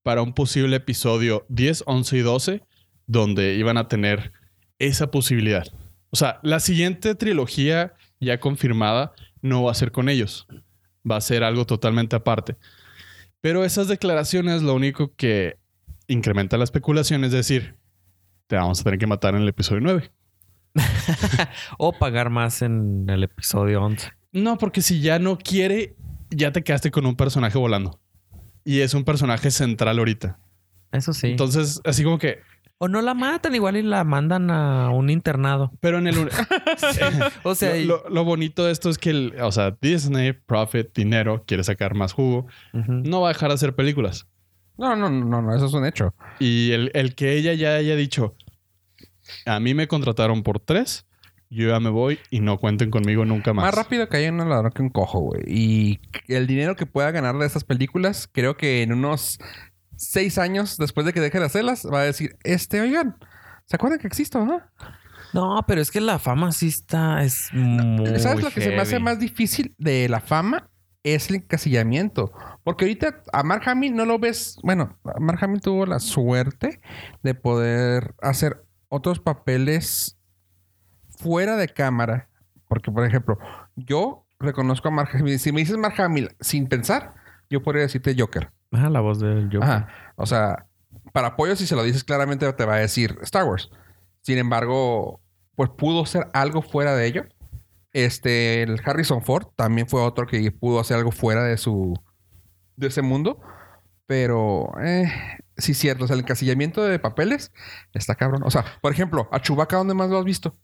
para un posible episodio 10, 11 y 12, donde iban a tener esa posibilidad. O sea, la siguiente trilogía ya confirmada no va a ser con ellos, va a ser algo totalmente aparte. Pero esas declaraciones lo único que incrementa la especulación es decir, te vamos a tener que matar en el episodio 9. O pagar más en el episodio 11. No, porque si ya no quiere, ya te quedaste con un personaje volando. Y es un personaje central ahorita. Eso sí. Entonces, así como que, O no la matan, igual y la mandan a un internado. Pero en el... uni- O sea, y- lo, lo- lo bonito de esto es que, el- o sea, Disney, profit, dinero, quiere sacar más jugo. Ujú. No va a dejar de hacer películas. No, no, no, no, eso es un hecho. Y el, el que ella ya haya dicho, a mí me contrataron por tres, yo ya me voy y no cuenten conmigo nunca más. Más rápido que hay un ladrón que un cojo, güey. Y el dinero que pueda ganar de estas películas, creo que en unos seis años después de que deje de hacerlas, va a decir, este, oigan, ¿se acuerdan que existo, no? No, pero es que la fama sí está. Es muy. ¿Sabes lo que se me hace heavy. más difícil de la fama? Es el encasillamiento. Porque ahorita a Mark Hamill no lo ves. Bueno, Mark Hamill tuvo la suerte de poder hacer otros papeles fuera de cámara. Porque, por ejemplo, yo reconozco a Mark Hamill. Si me dices Mark Hamill sin pensar, yo podría decirte Joker. Ajá, la voz del Joker. Ajá. O sea, para apoyo, si se lo dices claramente, te va a decir Star Wars. Sin embargo, pues pudo ser algo fuera de ello. Este, el Harrison Ford también fue otro que pudo hacer algo fuera de su. de ese mundo. Pero, eh, sí, cierto. O sea, el encasillamiento de papeles está cabrón. O sea, por ejemplo, a Chewbacca, ¿dónde más lo has visto?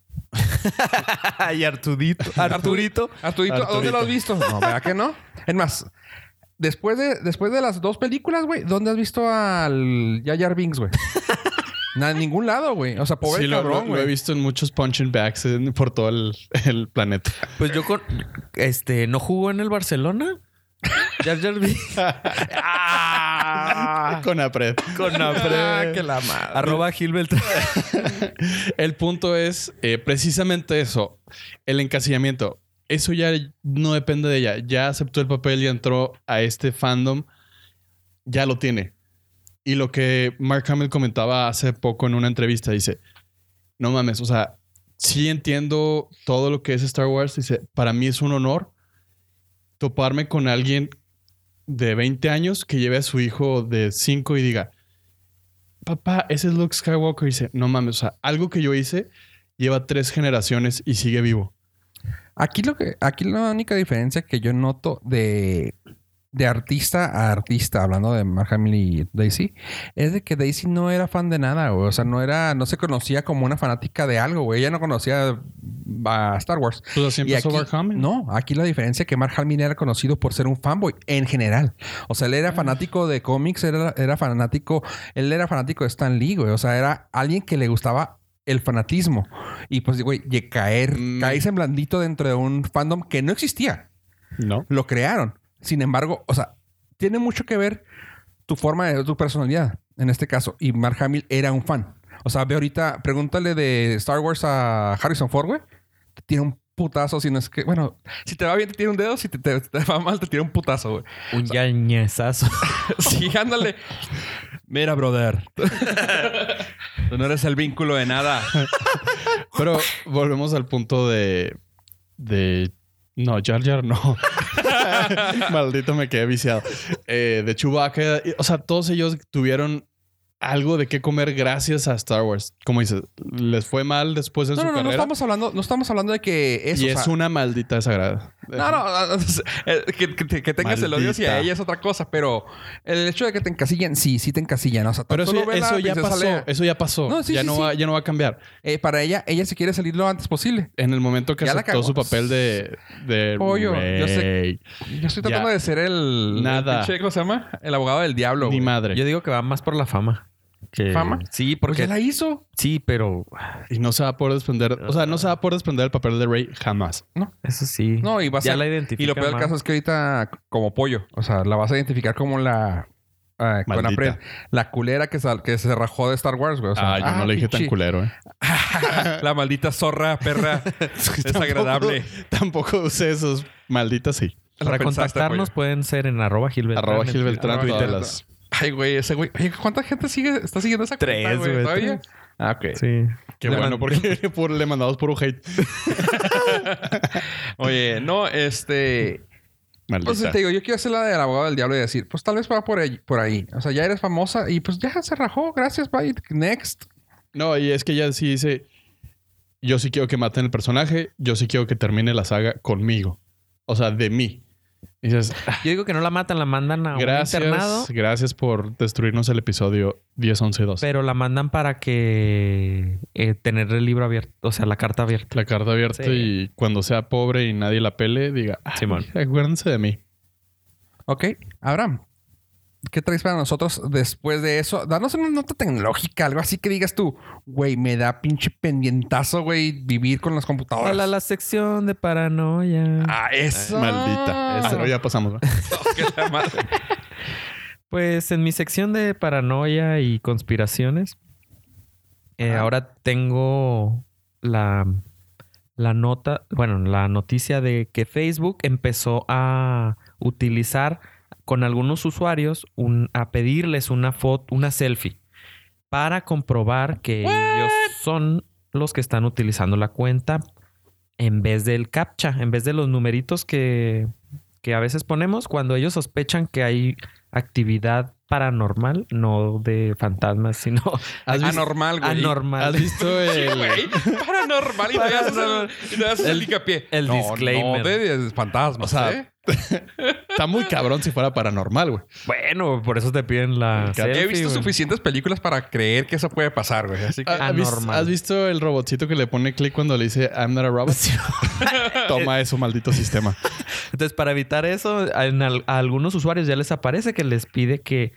y Artudito. Arturito. Ah, Arturito, ¿a dónde Arturito. lo has visto? No, ¿verdad que no? Es más, después de, después de las dos películas, güey, ¿dónde has visto al Yayar Binks, güey? Na- en ningún lado, güey. O sea, pobre Sí, lo, lo- cabrón, lo he güey. visto en muchos punching bags en- por todo el, el planeta. Pues yo con. Este, ¿no jugó en el Barcelona? Jar Jar Binks. Ah, Con Apred. con Ah, hambre. que la madre. Arroba Gil Beltrán. El punto es eh, precisamente eso, el encasillamiento. Eso ya no depende de ella. Ya aceptó el papel y entró a este fandom. Ya lo tiene. Y lo que Mark Hamill comentaba hace poco en una entrevista, dice, no mames, o sea, sí entiendo todo lo que es Star Wars. Dice, para mí es un honor toparme con alguien de 20 años que lleve a su hijo de 5 y diga, papá, ese es Luke Skywalker. Y dice, no mames, o sea, algo que yo hice lleva tres generaciones y sigue vivo. Aquí lo que, aquí la única diferencia que yo noto de, de artista a artista, hablando de Mark Hamill y Daisy, es de que Daisy no era fan de nada, güey. O sea, no era, no se conocía como una fanática de algo, güey. Ella no conocía a Star Wars. Pues así Y empezó aquí- Mark Hamill. No, aquí la diferencia es que Mark Hamill era conocido por ser un fanboy en general. O sea, él era fanático de cómics, era, era fanático, él era fanático de Stan Lee, güey. O sea, era alguien que le gustaba el fanatismo. Y pues, güey, de caer, Mm. caer semblandito dentro de un fandom que no existía. No. Lo crearon. Sin embargo, o sea, tiene mucho que ver tu forma de tu personalidad, en este caso. Y Mark Hamill era un fan. O sea, ve ahorita, pregúntale de Star Wars a Harrison Ford, güey. Te tira un putazo, si no es que, bueno, si te va bien te tira un dedo, si te, te- te va mal te tira un putazo, güey. Un yañezazo. Sí, ándale. Mira, brother. Tú no eres el vínculo de nada. Pero volvemos al punto de. de no, Jar Jar no. Maldito me quedé viciado. Eh, de Chewbacca. y- O sea, todos ellos tuvieron algo de qué comer gracias a Star Wars. Como dices, les fue mal después en No, su no, no, no carrera. estamos hablando, no estamos hablando de que eso. y o sea, es una maldita desagrada. No, no, no, eh, que, que- que tengas el odio hacia Este, Maldita. ella es otra cosa, pero el hecho de que te encasillen, sí, sí te encasillan. O sea, tan Pero eso, solo ve la eso ya princesa pasó. Leia. Eso ya pasó. No, sí, ya, sí, no sí. Va, ya no va a cambiar. Eh, para ella, ella se quiere salir lo antes posible. En el momento que Ya la aceptó cagó. su papel de. de Pollo, yo sé- Rey. Yo estoy Ya. tratando de ser el. Nada. el pinche, ¿Cómo se llama? El abogado del diablo. Ni güey. madre. Yo digo que va más por la fama. que- ¿Fama? Sí, Pues porque. ya la hizo. Sí, pero. Y no se va a poder desprender. O sea, no se va a poder desprender el papel de Rey jamás. Eso sí. No, y va a ya ser. la identifica. Y lo peor del más. caso es que ahorita, como pollo, o sea, la vas a identificar como la. eh, con Maldita. Apred, la culera que, sal- que se rajó de Star Wars, güey. O sea, ah, yo no le dije tan pinche- culero, ¿eh? La maldita zorra, perra. desagradable. Tampoco, tampoco usé esos. Malditas sí. Para La pensaste, pues. contactarnos pueden ser en arroba Gil Beltrán. Arroba en Gil Beltrán, Arroba Gil tuítelas. Ay, güey, ese güey. Oye, ¿cuánta gente sigue, está siguiendo esa Tres, cuenta, güey, ¿Todavía? tres. Ah, ok. Sí. Qué Le bueno, mand- porque por- le mandamos por un hate. Oye, no, este... Maldita. Pues te digo, yo quiero hacer la del abogado del diablo y decir, pues tal vez va por ahí, por ahí. O sea, ya eres famosa y pues ya se rajó. Gracias, bye. Next. No, y es que ella sí dice: Yo sí quiero que maten el personaje. Yo sí quiero que termine la saga conmigo. O sea, de mí. Y dices, Yo digo que no la matan, la mandan a un internado, gracias, gracias por destruirnos el episodio 10, 11 y 12. pero la mandan para que eh, tener el libro abierto, o sea, la carta abierta. La carta abierta Sí. y cuando sea pobre y nadie la pele, diga, "Ay, Simón. acuérdense de mí. Ok, Abraham, ¿qué traes para nosotros después de eso? Danos una nota tecnológica, algo así que digas tú, güey, me da pinche pendientazo, güey, vivir con las computadoras. Hola, la sección de paranoia. Ah, eso. Ah, Maldita. Eso. Pero ya pasamos. ¿va? Pues en mi sección de paranoia y conspiraciones, eh, Ah. ahora tengo la, la nota, bueno, la noticia de que Facebook empezó a utilizar con algunos usuarios un- a pedirles una foto, una selfie, para comprobar que ellos son los que están utilizando la cuenta en vez del captcha, en vez de los numeritos que, que a veces ponemos cuando ellos sospechan que hay actividad paranormal, no de fantasmas, sino ¿Has visto, Anormal, güey. anormal. has visto el, Güey, paranormal y no haces el, y no haces el, El- hincapié. el No, disclaimer. No, de, de fantasmas, O sea, ¿eh? Está muy cabrón si fuera paranormal, güey. Bueno, por eso te piden la He He selfie, visto güey. suficientes películas para creer que eso puede pasar, güey. Así que... Ah, ¿Has visto, Anormal. has visto el robotcito que le pone clic cuando le dice I'm not a robot? Toma eso, maldito sistema. Entonces, para evitar eso, a, en al- a algunos usuarios ya les aparece que les pide que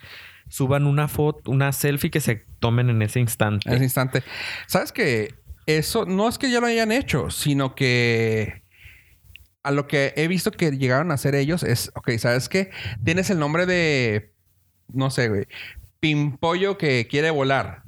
suban una foto, una selfie que se tomen en ese instante. en ese instante. ¿Sabes que Eso no es que ya lo hayan hecho, sino que a lo que he visto que llegaron a hacer ellos es, ok, ¿sabes qué? Tienes el nombre de, no sé, güey, Pimpollo que quiere volar.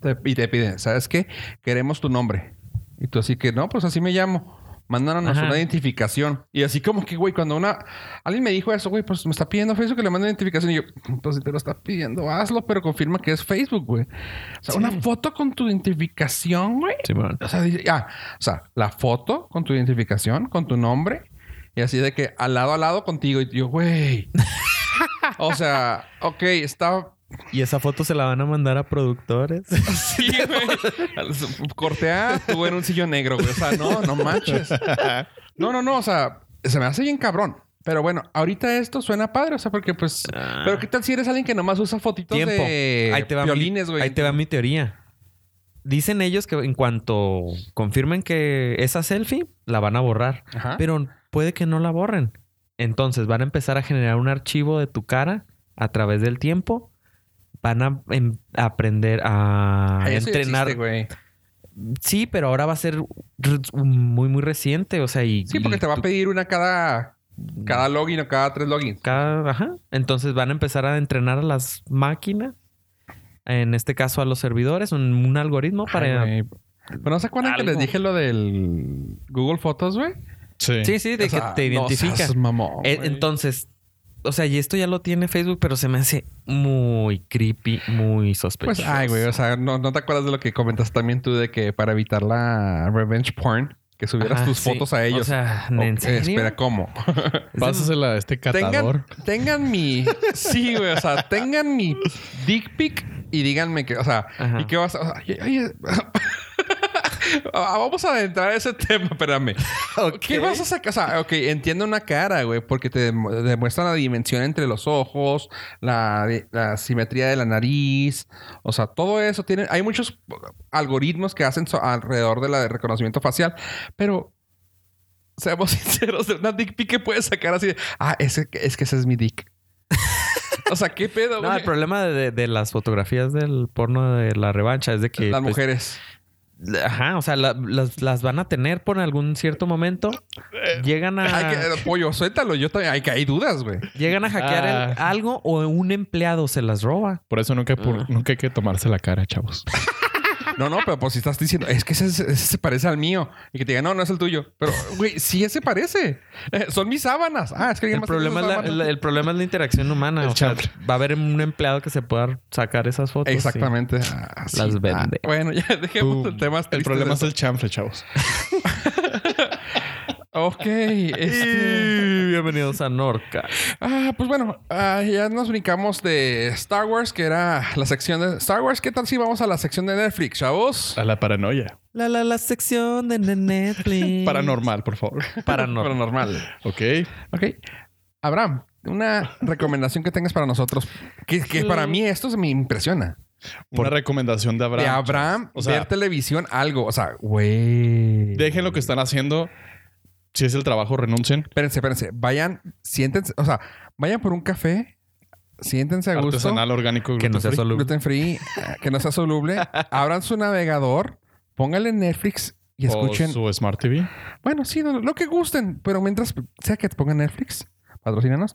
Te- Y te piden, ¿sabes qué? Queremos tu nombre. Y tú así que, no, pues así me llamo. Mándanos Ajá. una identificación. Y así como que, güey, cuando una... Alguien me dijo eso, güey, pues me está pidiendo Facebook que le mande identificación. Y yo, pues si te lo está pidiendo, hazlo, pero confirma que es Facebook, güey. O sea, una foto con tu identificación, güey. Simón. O sea, dice- ah, o sea, la foto con tu identificación, con tu nombre. Y así de que al lado a lado contigo. Y yo, güey. o sea, ok, está... Y esa foto se la van a mandar a productores. Sí, güey. Cortea, tú ah, en un sillón negro, güey. O sea, no, no manches. No, no, no. O sea, se me hace bien cabrón. Pero bueno, ahorita esto suena padre. O sea, porque pues... Ah. Pero ¿qué tal si eres alguien que nomás usa fotitos Tiempo. de ahí te va violines, mi, güey? Ahí te va mi teoría. Dicen ellos que en cuanto confirmen que esa selfie, la van a borrar. Ajá. Pero puede que no la borren. Entonces van a empezar a generar un archivo de tu cara a través del tiempo. Van a em, a aprender a Ah, Eso ya existe, entrenar. güey. sí, pero ahora va a ser r- muy, muy reciente. O sea, y. Sí, porque y te va a tú- pedir una cada, cada login o cada tres logins. cada- ajá. Entonces van a empezar a entrenar a las máquinas. En este caso a los servidores, un, un algoritmo para. Ay, güey. Pero no se acuerdan que Algo. les dije lo del Google Fotos, güey. Sí. sí, sí, de O que sea, te no identifica. seas mamón, Eh, güey. entonces, o sea, y esto ya lo tiene Facebook, pero se me hace muy creepy, muy sospechoso. Pues, ay, güey, o sea, no, no te acuerdas de lo que comentas también tú de que para evitar la revenge porn, que subieras Ajá, tus sí. fotos a ellos. O sea, Ok, ¿en serio? espera, ¿cómo? Pásasela a este catador. tengan, tengan mi. Sí, güey, o sea, tengan mi dick pic y díganme que, o sea, Ajá. ¿y qué vas a.? o sea, y- oye, Ah, Vamos a adentrar a ese tema, espérame. ¿Qué vas a sacar? O sea, ok, entiendo una cara, güey, porque te dem- demuestra la dimensión entre los ojos, la, di- la simetría de la nariz, o sea, todo eso. Tiene, hay muchos algoritmos que hacen so- alrededor de la de reconocimiento facial, pero seamos sinceros, de una dick pic que puedes sacar así de, ah, ese, es que ese es mi dick. o sea, ¿qué pedo, No, güey? el problema de, de las fotografías del porno de la revancha es de que... Las pues, mujeres. Ajá, o sea, la- las, las van a tener por algún cierto momento. Llegan a... Ay, que, pollo, suéltalo. Yo también. Hay que hay dudas, güey. Llegan a hackear el- Ah. algo o un empleado se las roba. Por eso nunca, por- Ah. nunca hay que tomarse la cara, chavos. No, no, pero pues si estás diciendo, es que ese, ese se parece al mío. Y que te diga, no, no es el tuyo. Pero, güey, sí ese parece. Eh, son mis sábanas. Ah, es que alguien El más problema, es tiene la, esas sábanas. el- el problema es la interacción humana. El o sea, chanfle. va a haber un empleado que se pueda sacar esas fotos. sí. Exactamente. Ah, sí. Las vende. Ah, bueno, ya dejemos el tema. el problema es el chanfle, chavos. Ok. este, Bienvenidos a Norca. Ah, pues bueno, ah, ya nos brincamos de Star Wars, que era la sección de Star Wars. ¿Qué tal si vamos a la sección de Netflix, chavos? Ah, A la paranoia. La la la sección de Netflix. Paranormal, por favor. Paranormal. Paranormal. Ok. Ok. Abraham, una recomendación que tengas para nosotros, que, que para mí esto se me impresiona. Una recomendación de Abraham. de Abraham, O sea- ver televisión, algo. O sea, güey. Dejen lo que están haciendo. Si es el trabajo, renuncien. Espérense, espérense. Vayan, siéntense, o sea, vayan por un café, siéntense a gusto. Artesanal, orgánico. Que no sea gluten-free. solo Gluten free, eh, que no sea soluble. Abran su navegador, pónganle Netflix y O escuchen. Oh, su Smart TV. Bueno, sí, no, lo que gusten, pero mientras sea que pongan Netflix, patrocínanos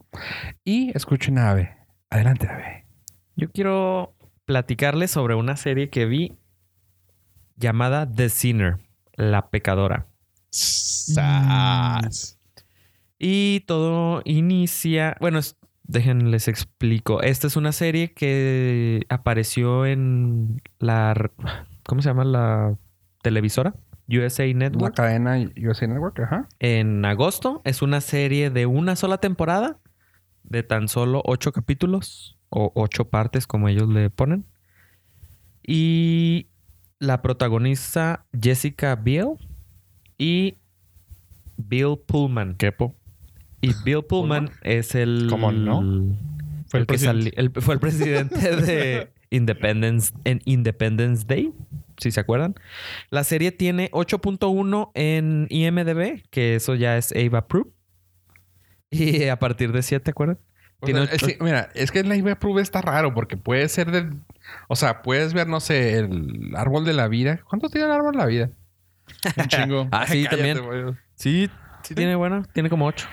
y escuchen a Ave. Adelante, Ave. Yo quiero platicarles sobre una serie que vi llamada The Sinner, la pecadora. Sas. Y todo inicia, bueno, es- déjenles explico. Esta es una serie que apareció en la r- ¿cómo se llama la televisora? USA La Network cadena USA Network, ajá. en agosto. Es una serie de una sola temporada de tan solo ocho capítulos o ocho partes, como ellos le ponen. Y la protagoniza Jessica Biel y Bill Pullman. Kepo. Y Bill Pullman es el. ¿Cómo no? Fue el, Fue que el presidente. sali- el- fue el presidente de Independence, en Independence Day, si se acuerdan. La serie tiene 8.1 en IMDb, que eso ya es Ava Proof. Y a partir de 7, ¿te acuerdan? O Tiene sea, ocho- es que, mira, es que la IVA Prove está raro porque puede ser de. O sea, puedes ver, no sé, el árbol de la vida. ¿Cuánto tiene el árbol de la vida? Un chingo. Ah, sí, Cállate, también. güey. Sí, sí tiene buena. Tiene como 8.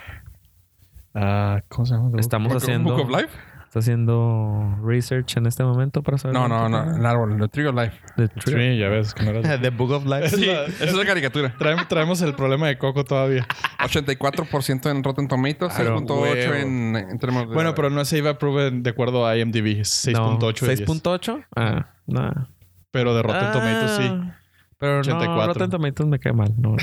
Ah, ¿Cómo se llama? Estamos ¿Book- Book of haciendo, Life? está haciendo research en este momento para saber. No, cuánto no, no. tiene. El árbol, el Tree of Life. The Sí, Tree. ya ves que no era- The Book of Life. Es la- Esa es la caricatura. traemos, traemos el problema de Coco todavía. 84% en Rotten Tomatoes, Claro, 6.8 huevo. en, en términos de. Bueno, pero no se iba a probar de acuerdo a IMDb. es No, 6.8 de 10. 6.8. Ah, no. Pero de Rotten Tomatoes sí. Ah, Pero 84. no, Rotten Tomatoes me cae mal. no.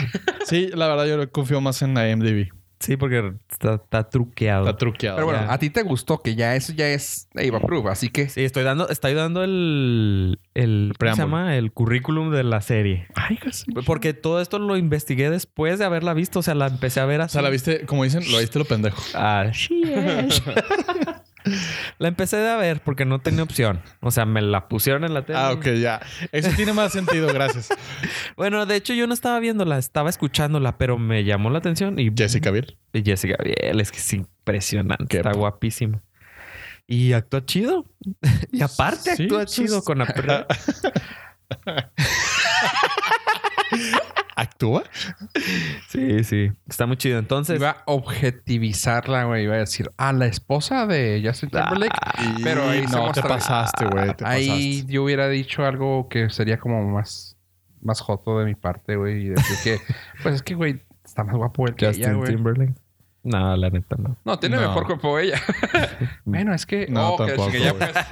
Sí, la verdad yo confío más en IMDb. Sí, porque está, está truqueado. Está truqueado. Pero bueno, ya. a ti te gustó que ya eso ya es IVA Prove, así que. sí, estoy dando, estoy dando el, el ¿cómo se preámbulo. llama? El currículum de la serie. Ay, casi. Porque todo esto lo investigué después de haberla visto. O sea, la empecé a Ah, ver O así. sea, la viste, como dicen, lo viste lo pendejo. Ah, sí es. la empecé a ver porque no tenía opción. O sea, me la pusieron en la tele. Ah, ok, ya. Eso tiene más sentido, gracias. Bueno, de hecho, yo no estaba viéndola, estaba escuchándola, pero me llamó la atención y Jessica Biel. Y Jessica Biel, es que es impresionante. Qué está po- guapísima. Y actúa chido. y aparte Sí, actúa pues, chido con apre- ¿Actúa? Sí, sí. Está muy chido. Entonces, Iba a objetivizarla, güey. Iba a decir, a la esposa de Justin Timberlake. Ah, pero ahí se no, te muestra- pasaste, güey. Te Ahí pasaste. yo hubiera dicho algo que sería como más, más joto de mi parte, güey. Y decir que, pues es que, güey, está más guapo él que ella, Justin güey. Timberlake. No, la neta no. No, tiene No. mejor cuerpo ella. bueno, es que. No, oh, que la tampoco, chingada, güey. pues.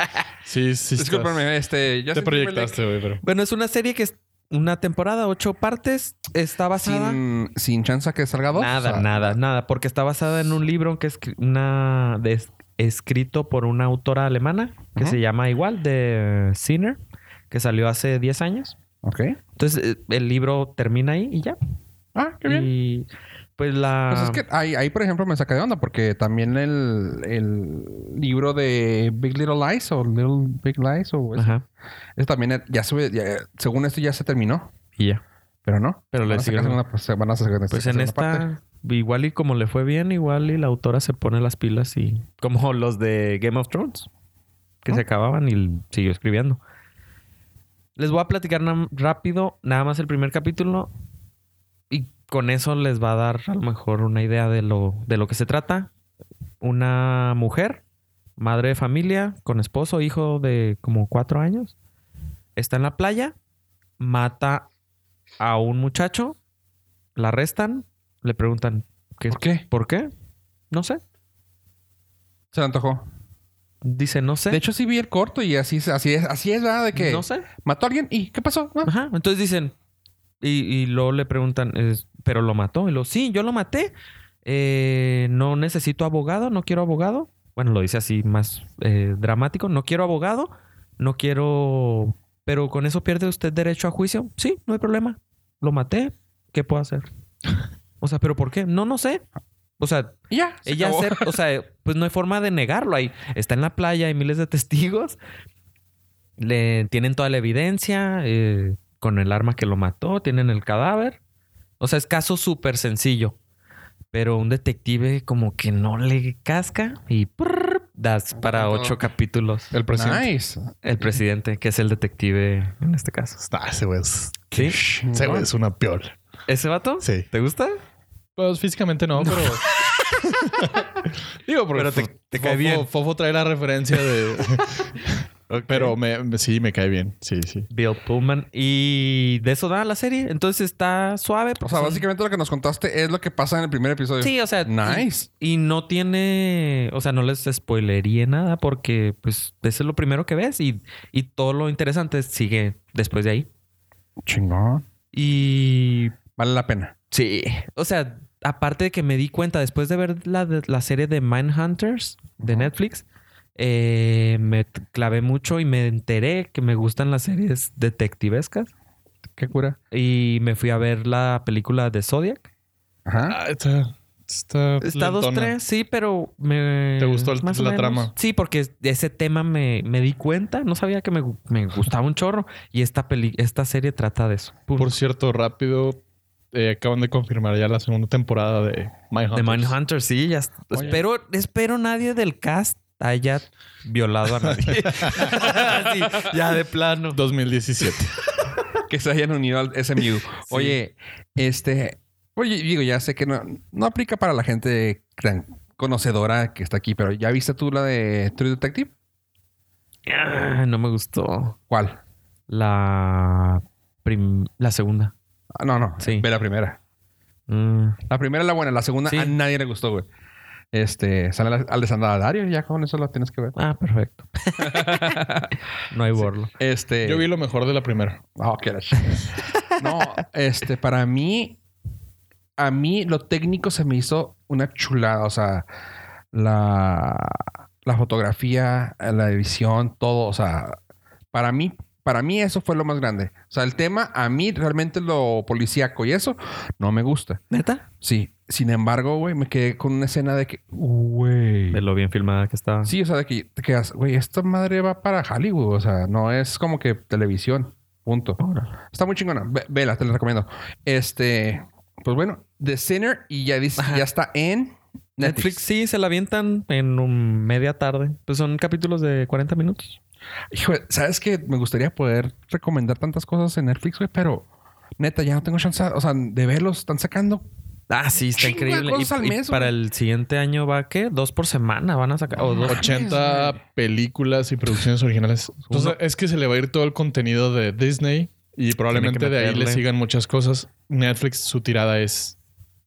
Sí, sí. estás- Discúlpame, este. Te proyectaste, güey, pero. Bueno, es una serie que es una temporada, ocho partes. Está basada. Sin, sin chance a que salga dos. Nada, o sea, nada, nada. Porque está basada en un libro que es una de- escrito por una autora alemana que Ujú. se llama igual, de eh, Sinner, que salió hace 10 años. Ok. Entonces, eh, el libro termina ahí y ya. Ah, qué bien. Y pues la. Pues es que ahí, ahí, por ejemplo, me saca de onda porque también el, el libro de Big Little Lies o Little Big Lies o. Eso, Ajá. eso también ya sube. ya- según esto ya se terminó, Y ya. pero no. Pero Van le a sacar siguen. segunda- pues, van a sacar Pues en segunda esta. parte. Igual y como le fue bien, igual y la autora se pone las pilas y. Como los de Game of Thrones. Que se acababan y siguió escribiendo. Les voy a platicar nam- rápido, nada más el primer capítulo. Y con eso les va a dar a lo mejor una idea de lo, de lo que se trata. Una mujer, madre de familia, con esposo, hijo de como cuatro años, está en la playa, mata a un muchacho, la arrestan, le preguntan qué, ¿Por qué? ¿por qué? No sé. Se le antojó. Dice, no sé. De hecho, sí vi el corto y así, es- así es, así es, ¿verdad? De que No sé. mató a alguien y ¿qué pasó? Ah, Ajá. Entonces dicen, y, y luego le preguntan, es- pero lo mató. Y lo, sí, yo lo maté. eh, no necesito abogado, no quiero abogado. Bueno, lo dice así más eh, dramático, no quiero abogado, no quiero... Pero con eso pierde usted derecho a juicio. Sí, no hay problema. Lo maté, ¿qué puedo hacer? O sea, pero ¿por qué? No, no sé. O sea, Y ya. se ella acabó. hacer, o sea, pues no hay forma de negarlo. Ahí está en la playa, hay miles de testigos. Le tienen toda la evidencia eh, con el arma que lo mató, tienen el cadáver. O sea, es caso súper sencillo. Pero un detective como que no le casca y prrr, das para Aguanta. ocho capítulos El presidente. Nice. el presidente, que es el detective en este caso. Está, ese güey es, ¿Sí? ese güey es una peor. ¿Ese vato? Sí. ¿Te gusta? Pues físicamente no, pero. Digo, porque Pero te- Fo- te cae Fofo- bien. Fofo trae la referencia de. Pero me, me- sí, me cae bien. Sí, sí. Bill Pullman. Y de eso da la serie. Entonces está suave. O porque sea, son- básicamente lo que nos contaste es lo que pasa en el primer episodio. Sí, o sea, Nice. Y, y no tiene, o sea, no les spoilería nada porque pues eso es lo primero que ves y, y todo lo interesante sigue después de ahí. Chingón. Y Vale la pena. sí, o sea, aparte de que me di cuenta después de ver la, de- la serie de Mindhunters de Ajá. Netflix, eh, me t- clavé mucho y me enteré que me gustan las series detectivescas Qué cura. y me fui a ver la película de Zodiac. Ajá. Ah, está. Está. Está dos, lentona. tres, sí, pero me... ¿Te gustó el- más o la menos. trama? Sí, porque ese tema me, me di cuenta. No sabía que me, gu- me gustaba un chorro. Y esta, peli, esta serie trata de eso. Pum. Por cierto, rápido. eh, acaban de confirmar ya la segunda temporada de de Mindhunters. Mindhunter, sí. Ya, Oye. espero, espero nadie del cast haya violado a nadie. Así, ya de plano. 2017. Ah. que se hayan unido al SMU. Oye, este. Oye, digo, ya sé que no, no aplica para la gente tan conocedora que está aquí, pero ¿ya viste tú la de True Detective? Ah, No me gustó. ¿Cuál? La, prim- la segunda. Ah, No, no. Sí. Ve la primera. Mm. La primera es la buena, la segunda Sí. a nadie le gustó, güey. Este, sale la- al de Sandra Dario, ya con eso lo tienes que ver. Ah, perfecto. no hay borlo. Este. Yo vi lo mejor de la primera. Ah, ok, la chingada. No, este, para mí, a mí lo técnico se me hizo una chulada. O sea, la, la fotografía, la edición, todo. O sea, para mí, para mí eso fue lo más grande. O sea, el tema, a mí realmente lo policíaco y eso no me gusta. ¿Neta? Sí. Sin embargo, güey, me quedé con una escena de que, güey. De lo bien filmada que estaba. Sí, o sea, de que te quedas, güey, esta madre va para Hollywood. O sea, no es como que televisión. Punto. Órale. Está muy chingona. Ve- Vela, te la recomiendo. Este, pues bueno, The Sinner y ya dice, Ajá. ya está en Netflix Netflix. sí se la avientan en un media tarde. Pues son capítulos de 40 minutos. Hijo, sabes que me gustaría poder recomendar tantas cosas en Netflix, güey, pero neta, ya no tengo chance, o sea, de verlos, están sacando. Ah, sí, está Chingo de increíble. cosas al Y, y mes, para güey. el siguiente año va que dos por semana van a sacar. O dos. 80 películas y producciones originales. Entonces, Uno. es que se le va a ir todo el contenido de Disney y probablemente que de ahí le meterle. sigan muchas cosas. Netflix, su tirada es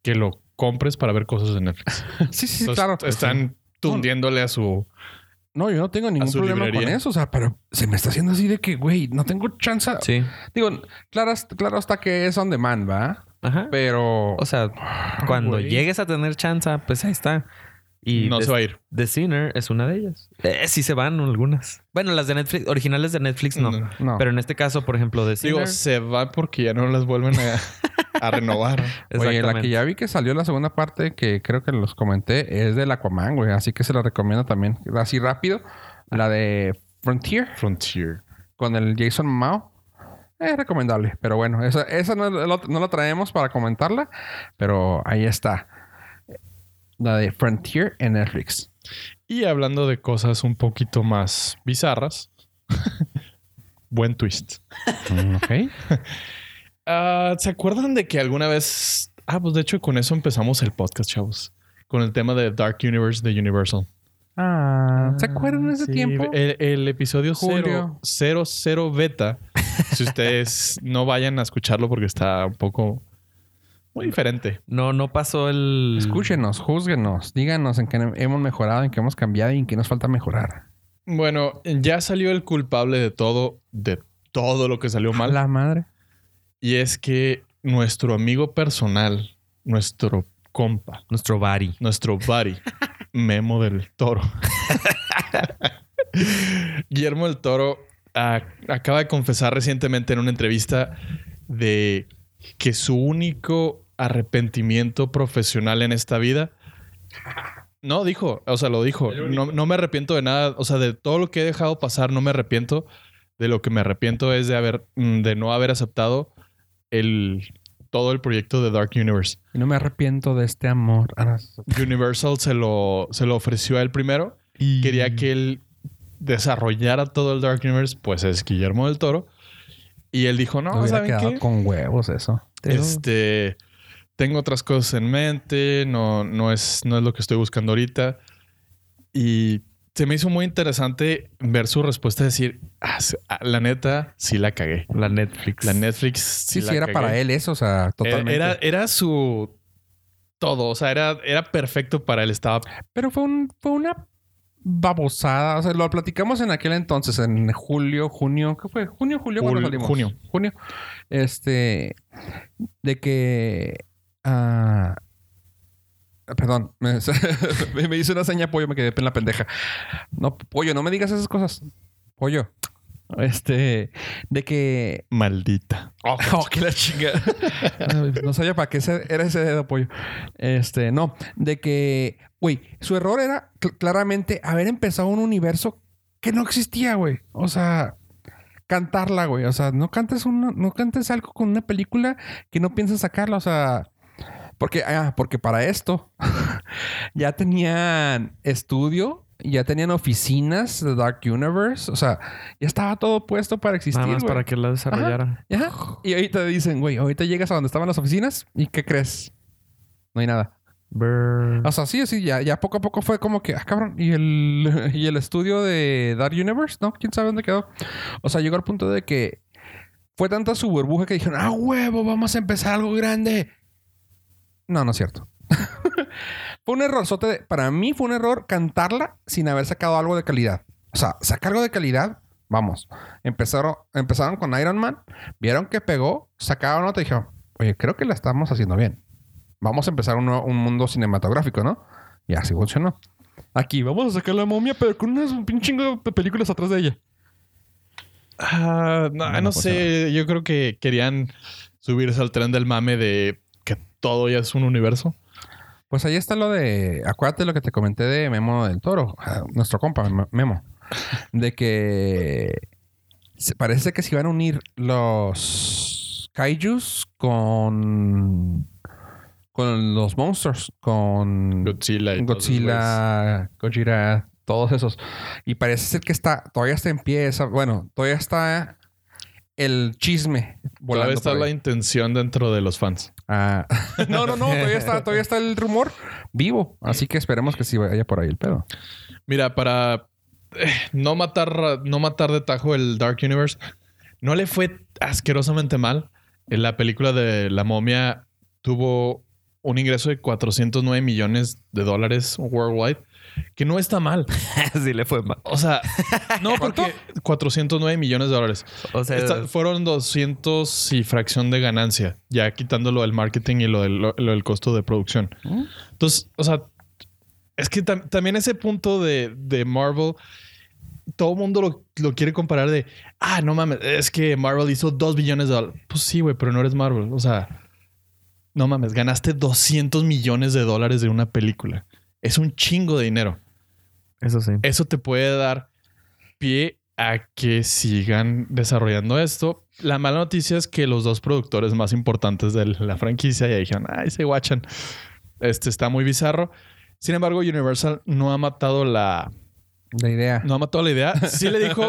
que lo compres para ver cosas de Netflix. Sí, sí, sí, Entonces, claro. Están tundiéndole a su. No, yo no tengo ningún su problema con librería. eso, o sea, pero se me está haciendo así de que, güey, no tengo chance. Ah. Sí. Digo, claro, claro está que es on demand, ¿va? Ajá. Pero O sea, cuando güey. llegues a tener chance, pues ahí está. Y no The- se va a ir. The Sinner es una de ellas. Eh, sí se van algunas. Bueno, las de Netflix, originales de Netflix no. No. no. Pero en este caso, por ejemplo, The Sinner. Digo, se va porque ya no las vuelven a, a renovar. Oye, la que exactamente. ya vi que salió la segunda parte, que creo que los comenté, es del Aquaman, güey. Así que se la recomiendo también. Así rápido. La de Frontier Frontier. con el Jason Mao. Es recomendable. Pero bueno, esa, esa no, lo- no la traemos para comentarla. Pero ahí está. La de Frontier en Netflix. Y hablando de cosas un poquito más bizarras, buen twist. ok. Ah, ¿Se acuerdan de que alguna vez... Ah, pues de hecho con eso empezamos el podcast, chavos. Con el tema de Dark Universe de Universal. Ah, eh, ¿Se acuerdan de ese Sí, tiempo? El, el episodio Julio. 00 beta. si ustedes no vayan a escucharlo porque está un poco... Muy diferente. No, no pasó el. Escúchenos, juzguenos, díganos en qué hemos mejorado, en qué hemos cambiado y en qué nos falta mejorar. Bueno, ya salió el culpable de todo, de todo lo que salió mal. La madre. Y es que nuestro amigo personal, nuestro compa, Nuestro Bari. nuestro buddy, Memo del Toro. Guillermo del Toro ah, acaba de confesar recientemente en una entrevista de que su único arrepentimiento profesional en esta vida. No, dijo, o sea, lo dijo. No, no me arrepiento de nada, o sea, de todo lo que he dejado pasar, no me arrepiento. De lo que me arrepiento es de haber, mm, de no haber aceptado el, todo el proyecto de Dark Universe. Y no me arrepiento de este amor. Ah, no. Universal se lo, se lo ofreció a él primero. Mm. Y Quería que él desarrollara todo el Dark Universe, pues es Guillermo del Toro. Y él dijo, Me no, hubiera ¿saben quedado qué? con huevos eso. Este, tengo otras cosas en mente, no, no, es, no es lo que estoy buscando ahorita. Y se me hizo muy interesante ver su respuesta, decir, "Ah, se- ah, la neta, sí la cagué. la Netflix. La Netflix sí, Sí, la sí, era cagué". para él eso, o sea, totalmente. Era, era su todo, o sea, era, era perfecto para él, estaba Pero fue, un, fue una babosada. O sea, lo platicamos en aquel entonces, en julio, junio. ¿Qué fue? ¿Junio, julio? cuando Jul- salimos? junio. Junio. Este. De que. ah, perdón. Me, me hizo una seña pollo, me quedé en la pendeja. No, pollo, no me digas esas cosas. Pollo. Este. De que. maldita. Oh, que la chinga. no sabía para qué ese- era ese dedo pollo. Este, no, de que, güey, su error era cl- claramente haber empezado un universo que no existía, güey. O sea, cantarla, güey. O sea, no cantes una, no cantes algo con una película que no piensas sacarla, o sea, porque ah, porque para esto ya tenían estudio ya tenían oficinas de Dark Universe, o sea, ya estaba todo puesto para existir. Nada más güey. para que la desarrollara. Ajá. Y ahorita dicen, güey, ahorita llegas a donde estaban las oficinas y ¿qué crees? No hay nada. Brr. O sea, sí, sí, ya, ya poco a poco fue como que, ah, cabrón, y el, y el estudio de Dark Universe, ¿no? ¿Quién sabe dónde quedó? O sea, llegó al punto de que fue tanta su burbuja que dijeron, ah, huevo, vamos a empezar algo grande. No, no es cierto. fue un error, sote, de- para mí fue un error cantarla sin haber sacado algo de calidad. O sea, sacar algo de calidad, vamos. Empezaron, empezaron con Iron Man, vieron que pegó, sacaron otra y dijeron, oye, creo que la estamos haciendo bien. Vamos a empezar un, nuevo- un mundo cinematográfico, ¿no? Y así funcionó. Aquí vamos a sacar la momia, pero con unas- un pinche chingo de películas atrás de ella. Ah, no, No, no no pasa sé, yo creo que querían subirse al tren del mame de que todo ya es un universo. Pues ahí está lo de. Acuérdate lo que te comenté de Memo del Toro, ah, nuestro compa Mem- Memo. De que. se- Parece que se iban a unir los kaijus con. con los monsters. Con. Godzilla y todos Godzilla, Gojira, todos esos. Y parece ser que está, todavía está en pie esa- bueno, todavía está el chisme esos güeyes. Todavía volando. está por la ahí. intención dentro de los fans. Ah. no, no, no, todavía está, todavía está el rumor vivo. Así que esperemos que sí vaya por ahí el pedo. Mira, para eh, no matar, no matar de tajo el Dark Universe, no le fue asquerosamente mal. En la película de La Momia tuvo un ingreso de 409 millones de dólares worldwide, que no está mal. sí le fue mal. O sea, no, porque 409 millones de dólares. O sea, Esta- fueron 200 y fracción de ganancia, ya quitando lo del marketing y lo del, lo- lo del costo de producción. ¿Mm? Entonces, o sea, es que tam- también ese punto de, de Marvel, todo el mundo lo, lo quiere comparar de, ah, no mames, es que Marvel hizo 2 billones de dólares. Pues sí, güey, pero no eres Marvel. O sea, no mames, ganaste 200 millones de dólares de una película. Es un chingo de dinero eso sí. eso te puede dar pie a que sigan desarrollando esto. La mala noticia es que los dos productores más importantes de la franquicia ya dijeron, ay, se guachan. Este está muy bizarro. Sin embargo, Universal no ha matado la, La idea. no ha matado la idea. Sí le dijo,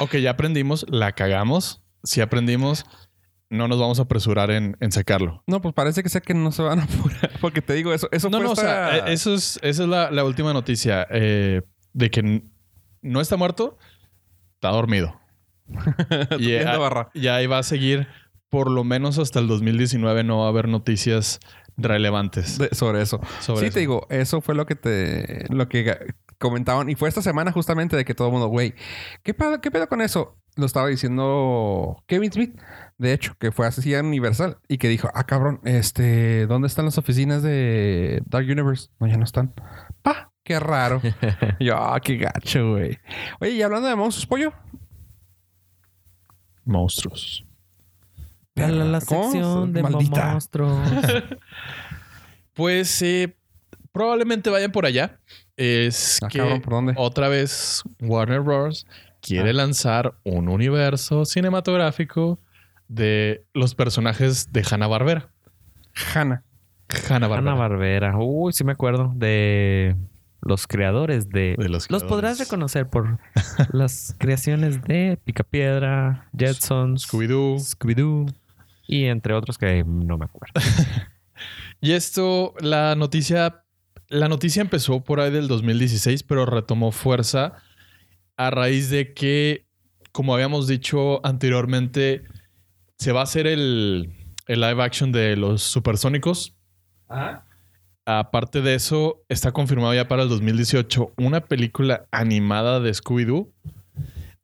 ok, ya aprendimos, la cagamos. Si aprendimos, no nos vamos a apresurar en, en sacarlo. No, pues parece que sé que no se van a apurar. Porque te digo eso. Eso No, fue no, o esta- sea, eh, eso es, esa es la, la última noticia eh, de que n- no está muerto, está dormido. y, eh, Viendo barra. y ahí va a seguir, por lo menos hasta el 2019 no va a haber noticias relevantes. de- sobre eso. sobre sí, eso. te digo, eso fue lo que te lo que ga- comentaban. Y fue esta semana justamente de que todo el mundo, güey, ¿qué pedo, qué pedo con eso? lo estaba diciendo Kevin Smith, de hecho, que fue así a Universal y que dijo, ah, cabrón, este, ¿dónde están las oficinas de Dark Universe? No, ya no están. Pa, qué raro. Y yo, ah, qué gacho, güey. Oye, y hablando de monstruos, pollo. Monstruos. La, la, la ¿Cómo? sección de Maldita. monstruos. Pues eh, probablemente vayan por allá. Es Ah, que cabrón, ¿por Ah. dónde? otra vez Warner Bros. quiere lanzar un universo cinematográfico de los personajes de Hanna Barbera. Hanna. Hanna Ana Barbera. Barbera. Uy, sí me acuerdo de los creadores de. De los Los podrás creadores. reconocer por las creaciones de Picapiedra, Jetsons, Scooby-Doo. Scooby-Doo y entre otros que no me acuerdo. Y esto, la noticia, la noticia empezó por ahí del 2016, pero retomó fuerza a raíz de que, como habíamos dicho anteriormente, se va a hacer el, el live action de los supersónicos. Ah. Aparte de eso, está confirmado ya para el 2018 una película animada de Scooby-Doo.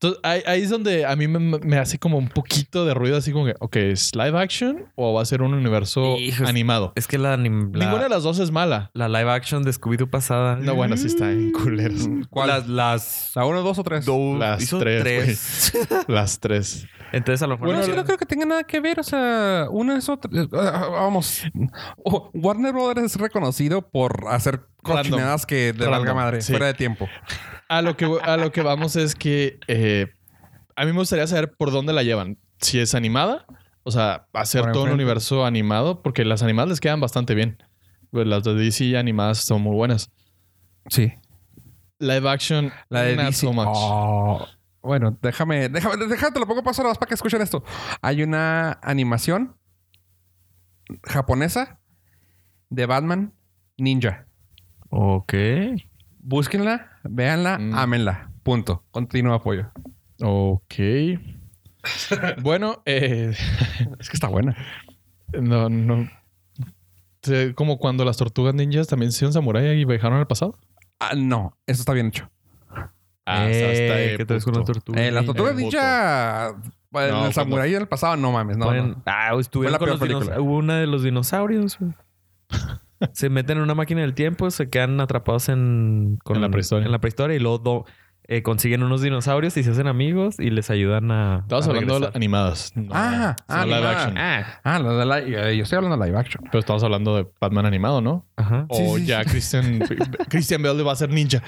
Entonces, ahí, ahí es donde a mí me, me hace como un poquito de ruido, así como que, ok, ¿es live action o va a ser un universo Hijos. animado? Es que la, anim- la- Ninguna de las dos es mala. la live action de Scooby-Doo pasada. No, bueno, sí está en culeros. ¿Cuál? Las, las ¿La uno, dos o tres? Las hizo tres, tres. Las tres. Entonces a lo mejor Bueno, Bueno, es que la- no creo que tenga nada que ver, o sea, una es otra. eh, ah, Vamos, Oh, Warner Brothers es reconocido por hacer Random. cochinadas que de Random, valga madre, sí. fuera de tiempo. A lo que, a lo que vamos es que eh, a mí me gustaría saber por dónde la llevan. Si es animada, o sea, hacer Por todo un enfrente. universo animado, porque las animadas les quedan bastante bien. Pues Las de DC animadas son muy buenas. Sí. Live action, La de not DC. so much. Oh, Bueno, déjame, déjame, déjate, lo pongo paso a para que escuchen esto. Hay una animación japonesa de Batman Ninja. Ok. Búsquenla, véanla, Mm. ámenla. Punto. Continúa apoyo. Ok. bueno, eh, Es que está buena. no, no. Se- Como cuando las tortugas ninjas también hicieron samurái y viajaron al pasado. Ah, no, eso está bien hecho. Ah, o Eh, sea, hasta ahí, ¿Qué tal es con la punto. tortuga? Eh, las ninja? tortugas el voto. ninja. eh, No, el samurái del pasado, no mames, no. Ponen- no. Ah, estuvieron Fue la con peor los dinos- película. Hubo una de los dinosaurios. güey. se meten en una máquina del tiempo, se quedan atrapados en, con- En la prehistoria. en la prehistoria y luego do- eh, consiguen unos dinosaurios y se hacen amigos y les ayudan a. Estabas a hablando de las regresar. animadas. no- Ah, no ah, live animada. action. Ah, Ah, la de live- eh, yo estoy hablando de live action. Pero estamos hablando de Batman animado, ¿no? ajá. Sí, O sí, ya Christian, Christian Bale va a ser ninja.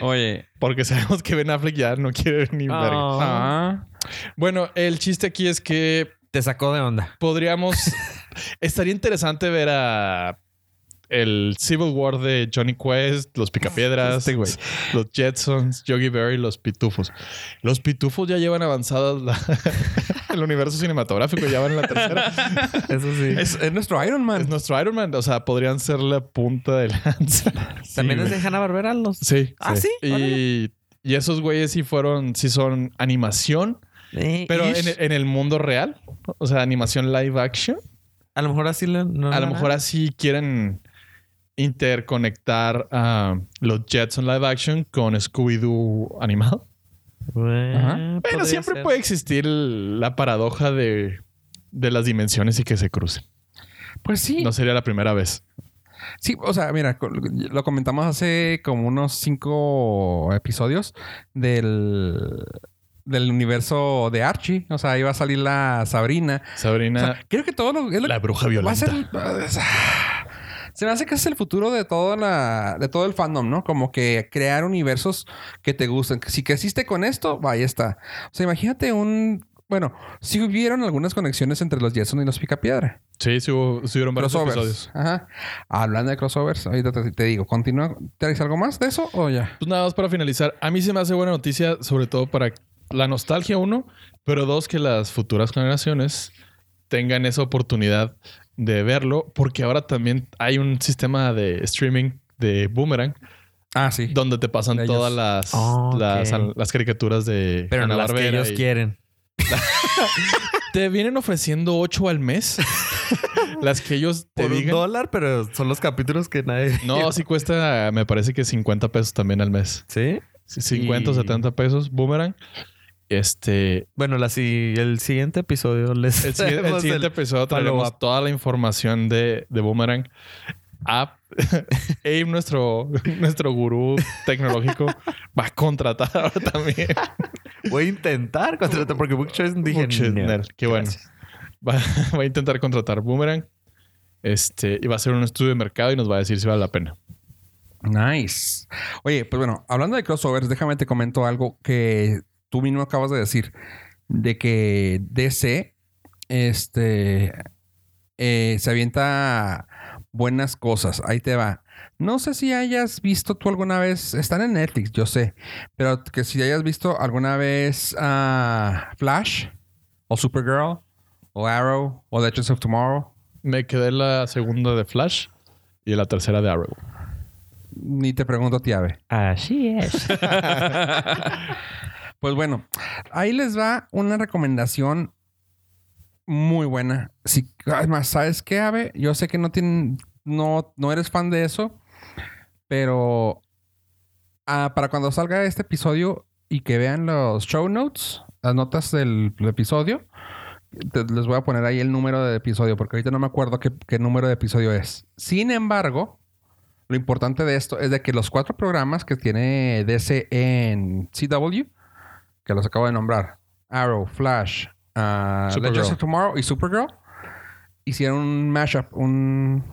Oye. Porque sabemos que Ben Affleck ya no quiere ni verga. Oh. Ah. Bueno, el chiste aquí es que Te sacó de onda. podríamos... estaría interesante ver a... El Civil War de Johnny Quest, los Picapiedras, Este güey. los Jetsons, Yogi Berry, los Pitufos. Los Pitufos ya llevan avanzadas la- el universo cinematográfico, ya van en la tercera. Eso sí. Es, es nuestro Iron Man. Es nuestro Iron Man, o sea, podrían ser la punta de lanza. También Sí, es de Hanna Barbera los. Sí. Ah, sí. Y, y esos güeyes sí fueron, sí son animación, Eh, pero ish. en, en el mundo real, o sea, animación live action. a lo mejor así le- no A lo le- mejor así quieren interconectar a los Jetson live action con Scooby-Doo animado. Bueno, Ajá. podría Pero siempre ser. puede existir el- la paradoja de, de las dimensiones y que se crucen. Pues sí. No sería la primera vez. Sí, o sea, mira, co- lo comentamos hace como unos cinco episodios del, del universo de Archie. O sea, iba a salir la Sabrina. O Sabrina, sea, creo que todo lo, es lo la bruja va a violenta. ser. Se me hace que es el futuro de todo la, de todo el fandom, ¿no? Como que crear universos que te gusten. Si creciste con esto, va, ahí está. O sea, imagínate un. Bueno, si hubieron algunas conexiones entre los Jetson y los Picapiedra. Sí, sí hubo- sí hubieron varios Crossovers. episodios. Ajá. Hablando de crossovers, ahorita te, te digo, continúa. ¿Tienes algo más de eso o ya? Pues nada más para finalizar, a mí se me hace buena noticia, sobre todo para la nostalgia, uno, pero dos, que las futuras generaciones tengan esa oportunidad de verlo, porque ahora también hay un sistema de streaming de Boomerang Ah, sí. donde te pasan De ellos. todas las, Ah, ok. las, las caricaturas de Pero no las que Hanna-Barbera ellos y- quieren. Te vienen ofreciendo ocho al mes, las que ellos te Por un digan. dólar, pero son los capítulos que nadie. No, sí cuesta, me parece que 50 pesos también al mes. ¿Sí? 50 o Y- 70 pesos, Boomerang. Este, Bueno, la, si, el siguiente episodio les el, siguiente- el traemos siguiente el- episodio tenemos follow-up. toda la información de, de Boomerang. App. Abe, nuestro, nuestro gurú tecnológico, va a contratar ahora también. Voy a intentar contratar porque Bookchoice dije Mucho "No". dinero. Qué bueno. Gracias. Va, va a intentar contratar Boomerang. Este, y va a hacer un estudio de mercado y nos va a decir si vale la pena. Nice. Oye, pues bueno, hablando de crossovers, déjame te comento algo que tú mismo acabas de decir. De que DC este, eh, se avienta buenas cosas. Ahí te va. No sé si hayas visto tú alguna vez. Están en Netflix, yo sé. Pero que si hayas visto alguna vez ah, Flash, o Supergirl, o Arrow, o Legends of Tomorrow. Me quedé en la segunda de Flash y la tercera de Arrow. Ni te pregunto a ti, Ave. Así es. Pues bueno, ahí les va una recomendación muy buena. Si, además, ¿sabes qué, Ave? Yo sé que no tienen, no, no eres fan de eso, pero ah, para cuando salga este episodio y que vean los show notes, las notas del episodio, te- les voy a poner ahí el número de episodio, porque ahorita no me acuerdo qué, qué número de episodio es. Sin embargo, lo importante de esto es de que los cuatro programas que tiene DC en CW, que los acabo de nombrar, Arrow, Flash, ah, Supergirl. Legends of Tomorrow y Supergirl, hicieron un mashup, un...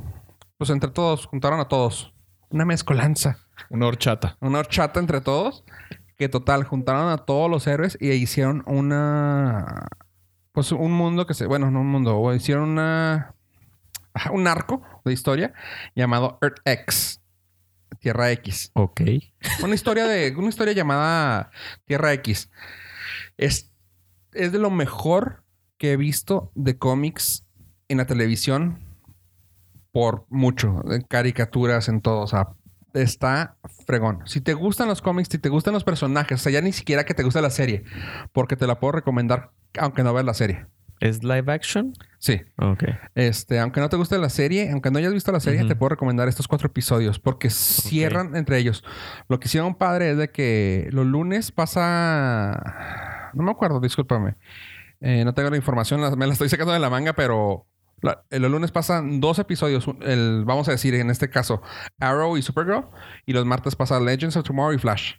Pues entre todos, juntaron a todos. Una mezcolanza Una horchata. una horchata entre todos que total juntaron a todos los héroes y hicieron una pues un mundo que se bueno no un mundo o hicieron una ajá, un arco de historia llamado Earth X Tierra X ok. una historia de una historia llamada Tierra X es es de lo mejor que he visto de cómics en la televisión por mucho en caricaturas en todo o sea está fregón si te gustan los cómics si te gustan los personajes o sea ya ni siquiera que te gusta la serie porque te la puedo recomendar aunque no veas la serie ¿Es live action? sí Ok. este, aunque no te guste la serie, aunque no hayas visto la serie, Ujú. te puedo recomendar estos cuatro episodios porque cierran entre ellos. Lo que hicieron padre es de que los lunes pasa. No me acuerdo, discúlpame. Eh, no tengo la información, la- me la estoy sacando de la manga, pero la- eh, los lunes pasan dos episodios. un- el- vamos a decir, en este caso, Arrow y Supergirl. Y los martes pasa Legends of Tomorrow y Flash.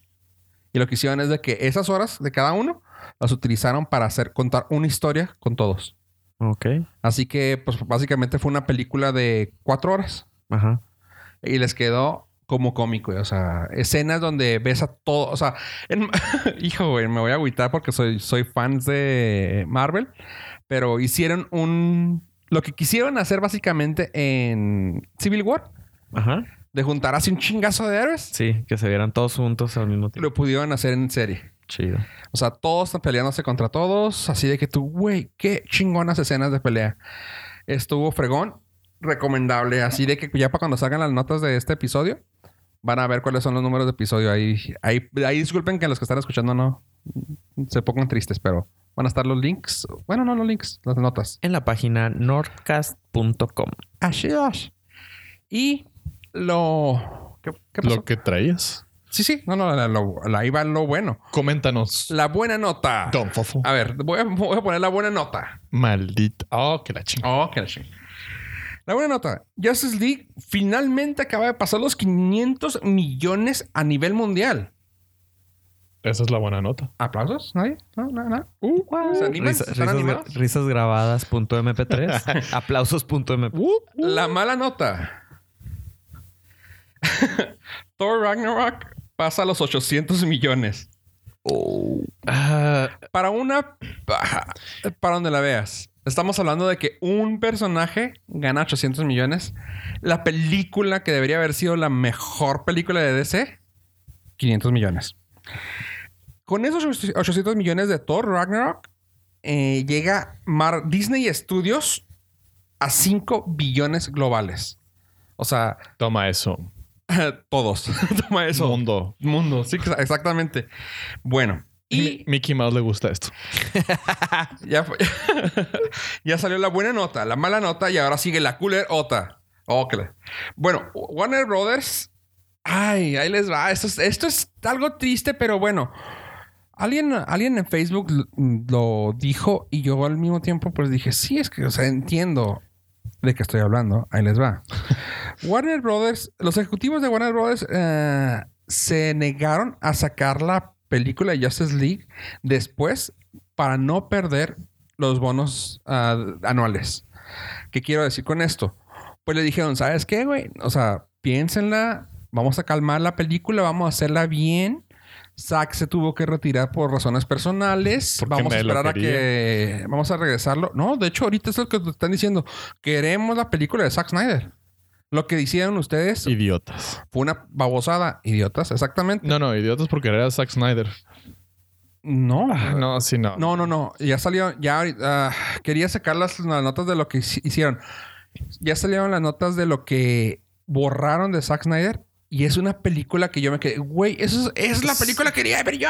Y lo que hicieron es de que esas horas de cada uno las utilizaron para hacer contar una historia con todos. Ok. Así que, pues básicamente fue una película de cuatro horas Ajá. y les quedó como cómico. O sea, escenas donde ves a todo. O sea, en- hijo, güey, me voy a agüitar porque soy, soy fan de Marvel, pero hicieron un. Lo que quisieron hacer básicamente en Civil War, Ajá. de juntar así un chingazo de héroes, Sí, que se vieran todos juntos al mismo tiempo. lo pudieron hacer en serie. Chido. O sea, todos están peleándose contra todos. Así de que tú, güey, qué chingonas escenas de pelea. Estuvo fregón. Recomendable. Así de que ya para cuando salgan las notas de este episodio, van a ver cuáles son los números de episodio. Ahí, ahí, ahí disculpen que los que están escuchando no se pongan tristes, pero van a estar los links. Bueno, no los links, las notas. En la página nordcast.com. Así es. Y lo... ¿Qué, qué pasó? Lo que traías. Sí, sí. No, no, la, lo- la- ahí va lo bueno. Coméntanos. La buena nota. Don Ah. Fofo. A ver, voy a- voy a poner la buena nota. Maldita. Oh, que la chingada. Oh, que la chingada. La buena nota. Justice League finalmente acaba de pasar los 500 millones a nivel mundial. Esa es la buena nota. ¿Aplausos? ¿Nadie? No, no, no. ¿Se animan? Risa- ¿Están risas, animados? risas grabadas.mp3. Aplausos.mp3. La mala nota. Thor Ragnarok pasa a los 800 millones. Ah, Para una... Para donde la veas. Estamos hablando de que un personaje gana 800 millones. La película que debería haber sido la mejor película de DC, 500 millones. Con esos 800 millones de Thor Ragnarok, eh, llega Mar- Disney Studios a 5 billones globales. O sea, toma eso. todos. Toma eso. Mundo. Mundo, sí, exa- exactamente. Bueno, Mi- y Mickey Mouse le gusta esto. ya, fue- ya salió la buena nota, la mala nota y ahora sigue la cooler ota. Ok. Bueno, Warner Brothers Ay, ahí les va. Esto es, esto es algo triste, pero bueno. Alguien, alguien en Facebook lo- lo dijo y yo al mismo tiempo pues dije, sí, es que, o sea, entiendo de qué estoy hablando. Ahí les va. Warner Brothers, los ejecutivos de Warner Brothers eh, se negaron a sacar la película de Justice League después para no perder los bonos ah, anuales. ¿Qué quiero decir con esto? Pues le dijeron, ¿sabes qué, güey? O sea, piénsenla, vamos a calmar la película, vamos a hacerla bien. Zack se tuvo que retirar por razones personales. Porque vamos a nadie lo esperar a quería. que. Vamos a regresarlo. No, de hecho, ahorita es lo que te están diciendo. Queremos la película de Zack Snyder. Lo que hicieron ustedes Idiotas. fue una babosada. Idiotas, exactamente. No, no, idiotas porque era Zack Snyder. No. Ah, No, sí, no. No, no, no. Ya salió. Ya ahorita- ah, quería sacar las, las notas de lo que hici- hicieron. Ya salieron las notas de lo que borraron de Zack Snyder. Y es una película que yo me quedé. Güey, eso es, es la película que quería ver yo.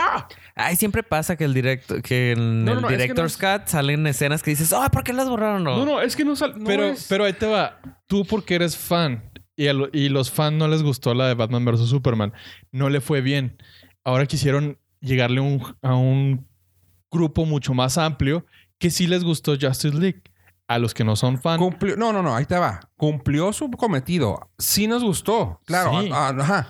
Ay, siempre pasa que el directo, que en No, el no, no, es que director's cut salen escenas que dices, ah, ¿por qué las borraron? No, no, es que no sal... No pero, es- pero ahí te va. Tú porque eres fan y, a lo- y los fans no les gustó la de Batman vs. Superman. No le fue bien. Ahora quisieron llegarle un- a un grupo mucho más amplio que sí les gustó Justice League. A los que no son fan. Cumplió- no, no, no, ahí te va. Cumplió su cometido. Sí nos gustó, claro. Sí. a- a- ajá.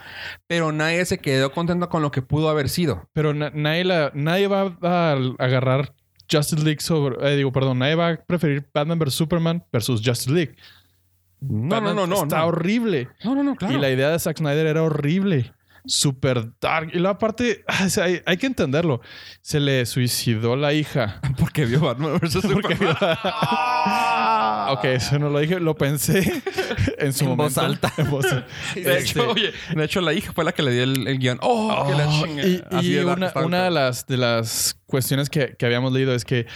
Pero nadie se quedó contento con lo que pudo haber sido. Pero na- nadie, la- nadie va a agarrar Justice League sobre... eh, digo, perdón. Nadie va a preferir Batman vs. Superman versus Justice League. No, no, Batman no, no. Está no. horrible. no, no, no, claro. Y la idea de Zack Snyder era horrible. Super dark. Y la parte, hay, hay que entenderlo. Se le suicidó la hija. Porque vio Batman vs. Superman. ok, eso no lo dije, lo pensé en su Ah. En voz momento. alta. En voz- De Este, hecho, oye, de hecho, la hija fue la que le dio el, el guión. ¡Oh! que la Oh, chinga! y y Así de dark una, está una de, ahorita. las, de las cuestiones que, que habíamos leído es que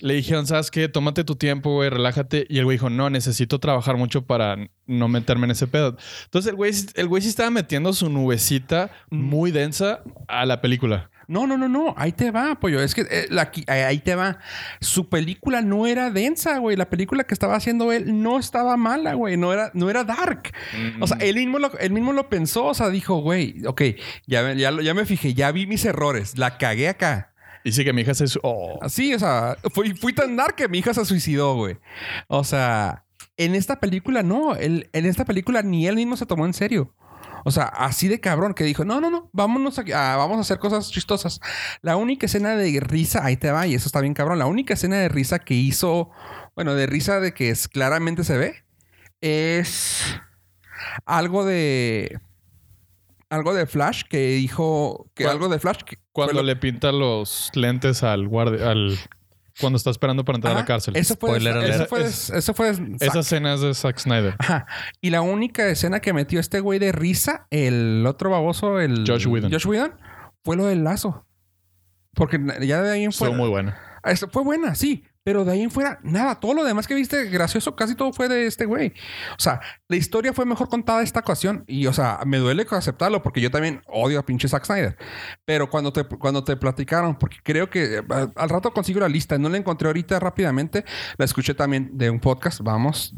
le dijeron, ¿sabes qué? Tómate tu tiempo, güey, relájate. Y el güey dijo, no, necesito trabajar mucho para no meterme en ese pedo. Entonces el güey, el güey sí estaba metiendo su nubecita Mm. muy densa a la película. No, no, no, no. Ahí te va, pollo. Es que eh, la qui- eh, ahí te va. Su película no era densa, güey. La película que estaba haciendo él no estaba mala, güey. No era, no era dark. O sea, él mismo, lo, él mismo lo pensó. O sea, dijo, güey, ok, ya, me- ya, lo- ya me fijé, ya vi mis errores. La cagué acá. Y sí que mi hija se... su- Oh. Así, o sea, fui, fui tan dark que mi hija se suicidó, güey. O sea, en esta película no, él- en esta película ni él mismo se tomó en serio. O sea, así de cabrón que dijo, no, no, no, vámonos aquí, ah, vamos a hacer cosas chistosas. La única escena de risa, ahí te va, y eso está bien cabrón, la única escena de risa que hizo, bueno, de risa de que es, claramente se ve, es algo de... Algo de Flash que dijo que ¿Cuál? algo de Flash que Cuando fue lo- le pinta los lentes al guardia... Al, cuando está esperando para entrar a Ajá, la cárcel. Eso fue, de- Spoiler alert. eso fue de- Es- eso fue de- Esa escena es de Zack Snyder. Ajá. Y la única escena que metió este güey de risa, el otro baboso, el Josh Whedon. fue lo del lazo. Porque na- ya de ahí en Fue fuera. muy buena. Ah, Eso fue buena, sí. Pero de ahí en fuera, nada. Todo lo demás que viste gracioso, casi todo fue de este güey. O sea, la historia fue mejor contada esta ocasión. Y, o sea, me duele aceptarlo porque yo también odio a pinche Zack Snyder. Pero cuando te, cuando te platicaron, porque creo que eh, al- al rato consigo la lista. No la encontré ahorita rápidamente. La escuché también de un podcast. Vamos.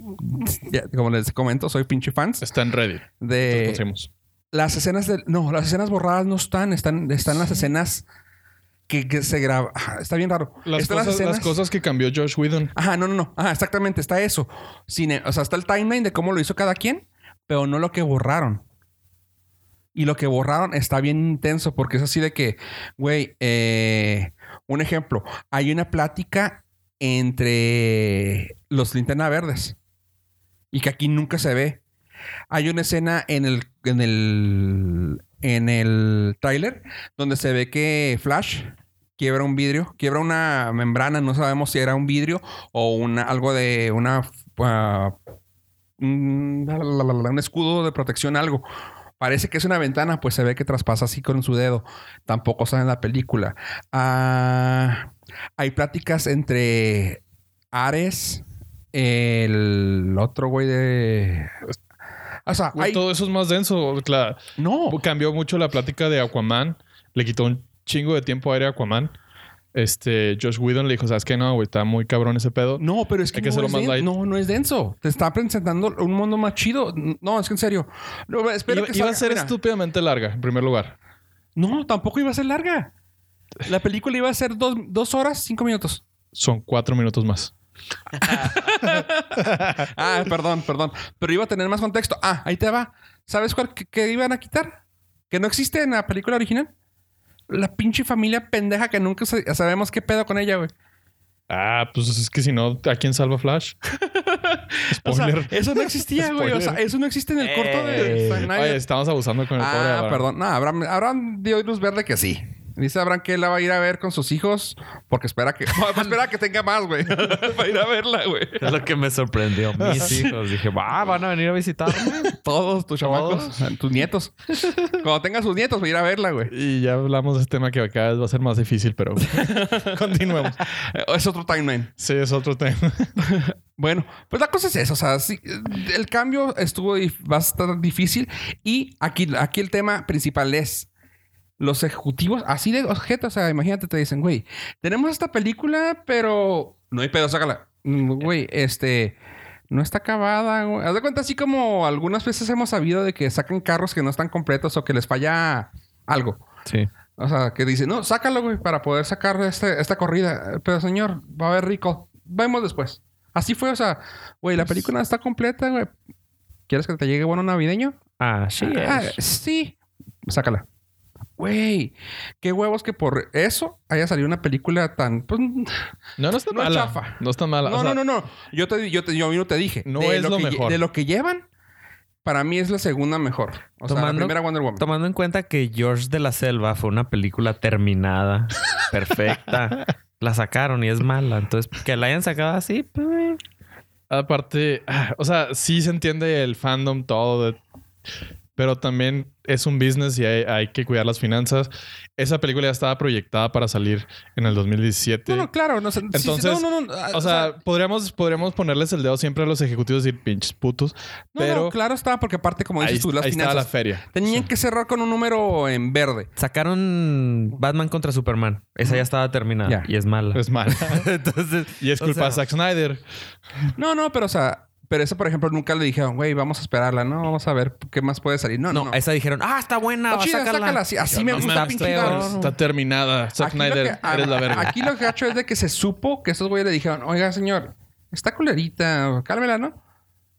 Ya, como les comento, soy pinche fans. Está en Reddit. Lo De pusimos. las escenas del... No, las escenas borradas no están. Están, están las escenas... Que, que se graba. Ajá, Está bien raro. Las Están cosas, las escenas- cosas que cambió Josh Whedon. Ajá, no, no, no. Ajá, exactamente. Está eso. Cine, o sea, está el timeline de cómo lo hizo cada quien, pero no lo que borraron. Y lo que borraron está bien intenso porque es así de que, güey, eh, un ejemplo, hay una plática entre los linterna verdes y que aquí nunca se ve. Hay una escena en el, en el, en el tráiler donde se ve que Flash quiebra un vidrio, quiebra una membrana, no sabemos si era un vidrio o una, algo de una ah, un, la, la, la, la, un escudo de protección, algo. Parece que es una ventana, pues se ve que traspasa así con su dedo. Tampoco sale en la película. Ah, hay pláticas entre Ares, el otro güey de. O sea, Güey, hay- Todo eso es más denso. La- no. cambió mucho la plática de Aquaman. Le quitó un chingo de tiempo aire a Aquaman. este, Josh Whedon le dijo, ¿sabes qué? No, güey, está muy cabrón ese pedo. No, pero es que, Hay que no, hacerlo es más den- light. no, no es denso. Te está presentando un mundo más chido. No, es que en serio. No, espera Iba, que iba a salga. ser Mira. estúpidamente larga, en primer lugar. No, tampoco iba a ser larga. La película iba a ser dos, dos horas, cinco minutos. Son cuatro minutos más. Ah, perdón, perdón. Pero iba a tener más contexto. Ah, ahí te va. ¿Sabes cuál que, que iban a quitar? Que no existe en la película original. La pinche familia pendeja que nunca sa- sabemos qué pedo con ella, güey. Ah, pues es que si no, ¿a quién salva Flash? O sea, Spoiler. eso no existía, güey. O sea, eso no existe en el corto de Eh. Zack Snyder. Oye, estamos abusando con el pobre Ah, Abraham. perdón. No, Abraham, Abraham dio luz verde que sí. Dice Abraham que él la va a ir a ver con sus hijos porque espera que... pues, espera que tenga más, güey. Para ir a verla, güey. Es lo que me sorprendió. Mis hijos. Dije, va, van a venir a visitarme. Todos tus chamacos, tus nietos. Cuando tenga sus nietos, voy a ir a verla, güey. Y ya hablamos de este tema que cada vez va a ser más difícil, pero continuemos. Eh, Es otro timeline. Sí, es otro tema. Bueno, pues la cosa es eso. O sea, sí, eh, el cambio estuvo dif- bastante difícil. Y aquí, aquí el tema principal es los ejecutivos, así de objeto. O sea, imagínate, te dicen, güey, tenemos esta película, pero no hay pedo, sácala. Mm, Güey, este. No está acabada, güey. Haz de cuenta, así como algunas veces hemos sabido de que sacan carros que no están completos o que les falla algo. Sí. O sea, que dice, no, sácalo, güey, para poder sacar este- esta corrida. Pero, señor, va a haber rico. Vemos después. Así fue, o sea, güey, la película está completa, güey. ¿Quieres que te llegue bueno navideño? Ah, sí. Ah, sí. Sácala. Güey, qué huevos que por eso haya salido una película tan... Pues, No, no está No es mala. chafa. No está mala. no, O sea, no, no, no. Yo te, yo te, yo no te dije. No es lo que lle- mejor. De lo que llevan, para mí es la segunda mejor. O sea, la Tomando- primera Wonder Woman. Tomando en cuenta que George de la Selva fue una película terminada, perfecta. La sacaron y es mala. Entonces, que la hayan sacado así, pues, Aparte, ah, o sea, sí se entiende el fandom, todo, de- pero también es un business y hay, hay que cuidar las finanzas. Esa película ya estaba proyectada para salir en el 2017. No, no, claro. No, sé. Sí, sí, Entonces, no, no, no, ah, O sea, podríamos, podríamos ponerles el dedo siempre a los ejecutivos y decir, pinches putos. No, pero no, claro está, porque aparte, como ahí, dices tú, las ahí estaba la finanzas. feria. Tenían que cerrar con un número en verde. sacaron Batman contra Superman. Esa ya estaba terminada Ya. y es mala. Es mal. Entonces, Y es o culpa de sea, Zack Snyder. Mm. No, no, pero o sea, pero eso, por ejemplo, nunca le dijeron, güey, vamos a esperarla, ¿no? Vamos a ver qué más puede salir. No, no. No, no. esa dijeron, ah, está buena, Está va, chida, sácala. sácala, así- así me No gusta, mames, pinche está Claro. peor. Está terminada. Zack lo Snyder, que- eres la verga. Aquí lo gacho es de que se supo que esos güeyes le dijeron, oiga, señor, está culerita, cálmela, ¿no?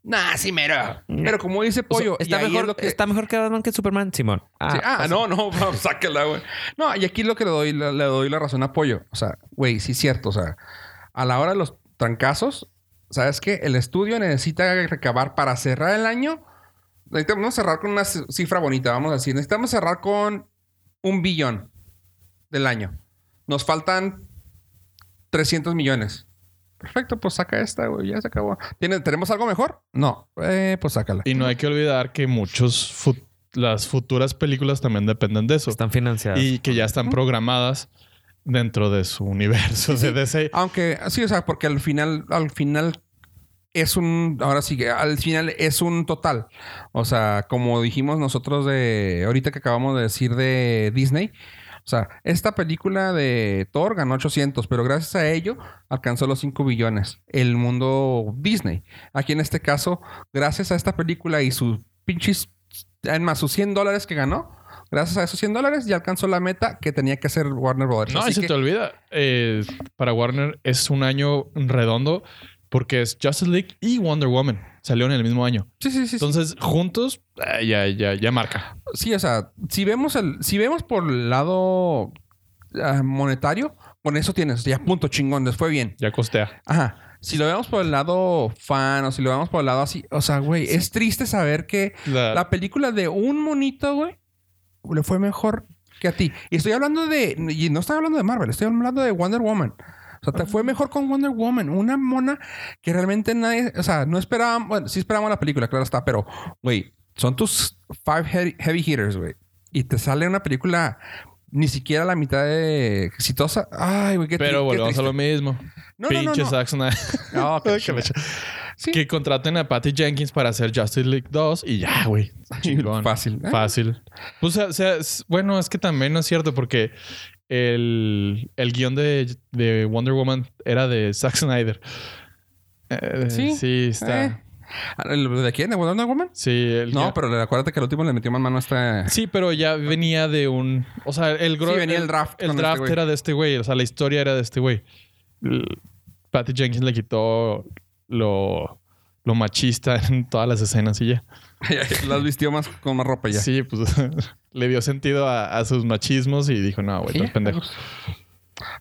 Nah, sí, mero. Mm. Pero como dice O sea, Pollo, está, y ahí es mejor, lo que- está mejor que Batman que Superman, Simón. eh, Ah, Sí, Ah, no, no, no, sácala, güey. No, y aquí lo que le doy, le, le doy la razón a Pollo. O sea, güey, sí es cierto. O sea, a la hora de los trancazos, ¿sabes qué? El estudio necesita recabar para cerrar el año. Necesitamos cerrar con una ci- cifra bonita, vamos a decir. Necesitamos cerrar con un billón del año. Nos faltan 300 millones. Perfecto, pues saca esta, güey. Ya se acabó. ¿Tiene- ¿Tenemos algo mejor? No. Eh, pues sácala. Y no hay que olvidar que muchos fut- las futuras películas también dependen de eso. están financiadas. y que ya están programadas dentro de su universo de DC. Aunque sí, o sea, porque al final, al final es un, ahora sí que al final es un total. O sea, como dijimos nosotros de, ahorita que acabamos de decir de Disney, o sea, esta película de Thor ganó 800, pero gracias a ello alcanzó los 5 billones. El mundo Disney. Aquí en este caso, gracias a esta película y sus pinches, además sus 100 dólares que ganó, gracias a esos 100 dólares ya alcanzó la meta que tenía que hacer Warner Brothers. No, pues Así y se que- te olvida. eh, para Warner es un año redondo porque es Justice League y Wonder Woman. Salieron en el mismo año. sí, sí, sí, sí. Entonces, juntos, ah, ya, ya, ya marca. Sí, o sea, si vemos el, si vemos por el lado ah, monetario, con eso tienes, ya punto chingón, les fue bien. Ya costea. Ajá. Si lo vemos por el lado fan o si lo vemos por el lado así, o sea, güey, es triste saber que La- la película de un monito, güey, le fue mejor que a ti. Y estoy hablando de, y no estoy hablando de Marvel, estoy hablando de Wonder Woman. O sea, te fue mejor con Wonder Woman, una mona que realmente nadie, o sea, no esperábamos, bueno, sí esperábamos la película, claro está, pero, güey, son tus five heavy, heavy hitters, güey. Y te sale una película ni siquiera la mitad de exitosa. Ay, güey, qué tri- pero qué volvemos a lo triste. mismo. No, no, no, Pinche no. Zack Snyder. No, qué que, chingada. Sí. contraten a Patty Jenkins para hacer Justice League 2 y ya, güey. Chingón. Fácil. ¿eh? Fácil. Pues, o sea, es- bueno, es que también no es cierto porque el, el guión de, de Wonder Woman era de Zack Snyder. Eh, Sí. sí. está. Eh. ¿El- ¿De quién? ¿De Wonder Woman? Sí, el No, guión- pero le- acuérdate que el último le metió más mano a este... Sí, pero ya venía de un. O sea, el gro- Sí, venía el draft El con draft este güey. era de este güey. O sea, la historia era de este güey. L- Patty Jenkins le quitó lo, lo machista en todas las escenas y ya. Las vistió más con más ropa ya. Sí, pues le dio sentido a, a sus machismos y dijo, no, güey, Sí, los pendejos.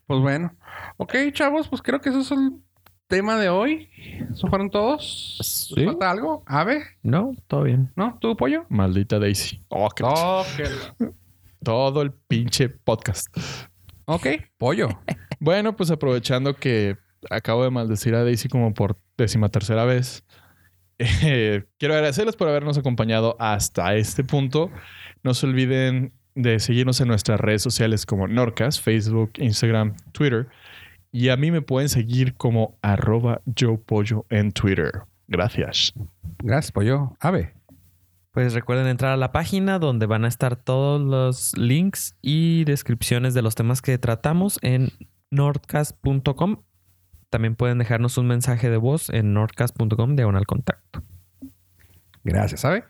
Pues bueno. Ok, chavos, pues creo que eso es el tema de hoy. ¿Eso fueron todos? ¿Les Sí. ¿Falta algo? ¿Ave? No, todo bien. ¿No? ¿Tú, pollo? Maldita Daisy. Oh, qué- Todo el pinche podcast. Ok, pollo. Bueno, pues aprovechando que acabo de maldecir a Daisy como por décima tercera vez, eh, quiero agradecerles por habernos acompañado hasta este punto. No se olviden de seguirnos en nuestras redes sociales como Norcas, Facebook, Instagram, Twitter. Y a mí me pueden seguir como arroba yo pollo en Twitter. Gracias. Gracias, pollo. Ave. Pues recuerden entrar a la página donde van a estar todos los links y descripciones de los temas que tratamos en nordcast.com. También pueden dejarnos un mensaje de voz en nordcast.com diagonal contacto. Gracias, ¿sabe?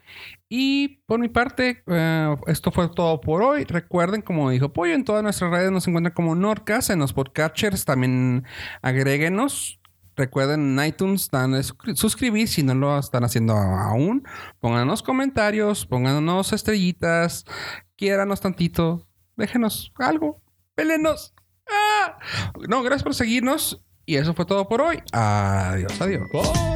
Y por mi parte, eh, esto fue todo por hoy. Recuerden, como dijo Pollo, en todas nuestras redes nos encuentran como Norcas, en los podcatchers también agréguenos. Recuerden, en iTunes, dan de suscri- suscribir si no lo están haciendo aún. Pónganos comentarios, pónganos estrellitas, quiéranos tantito, déjenos algo, pélenos. ¡Ah! No, gracias por seguirnos. Y eso fue todo por hoy. Adiós, adiós. Bye.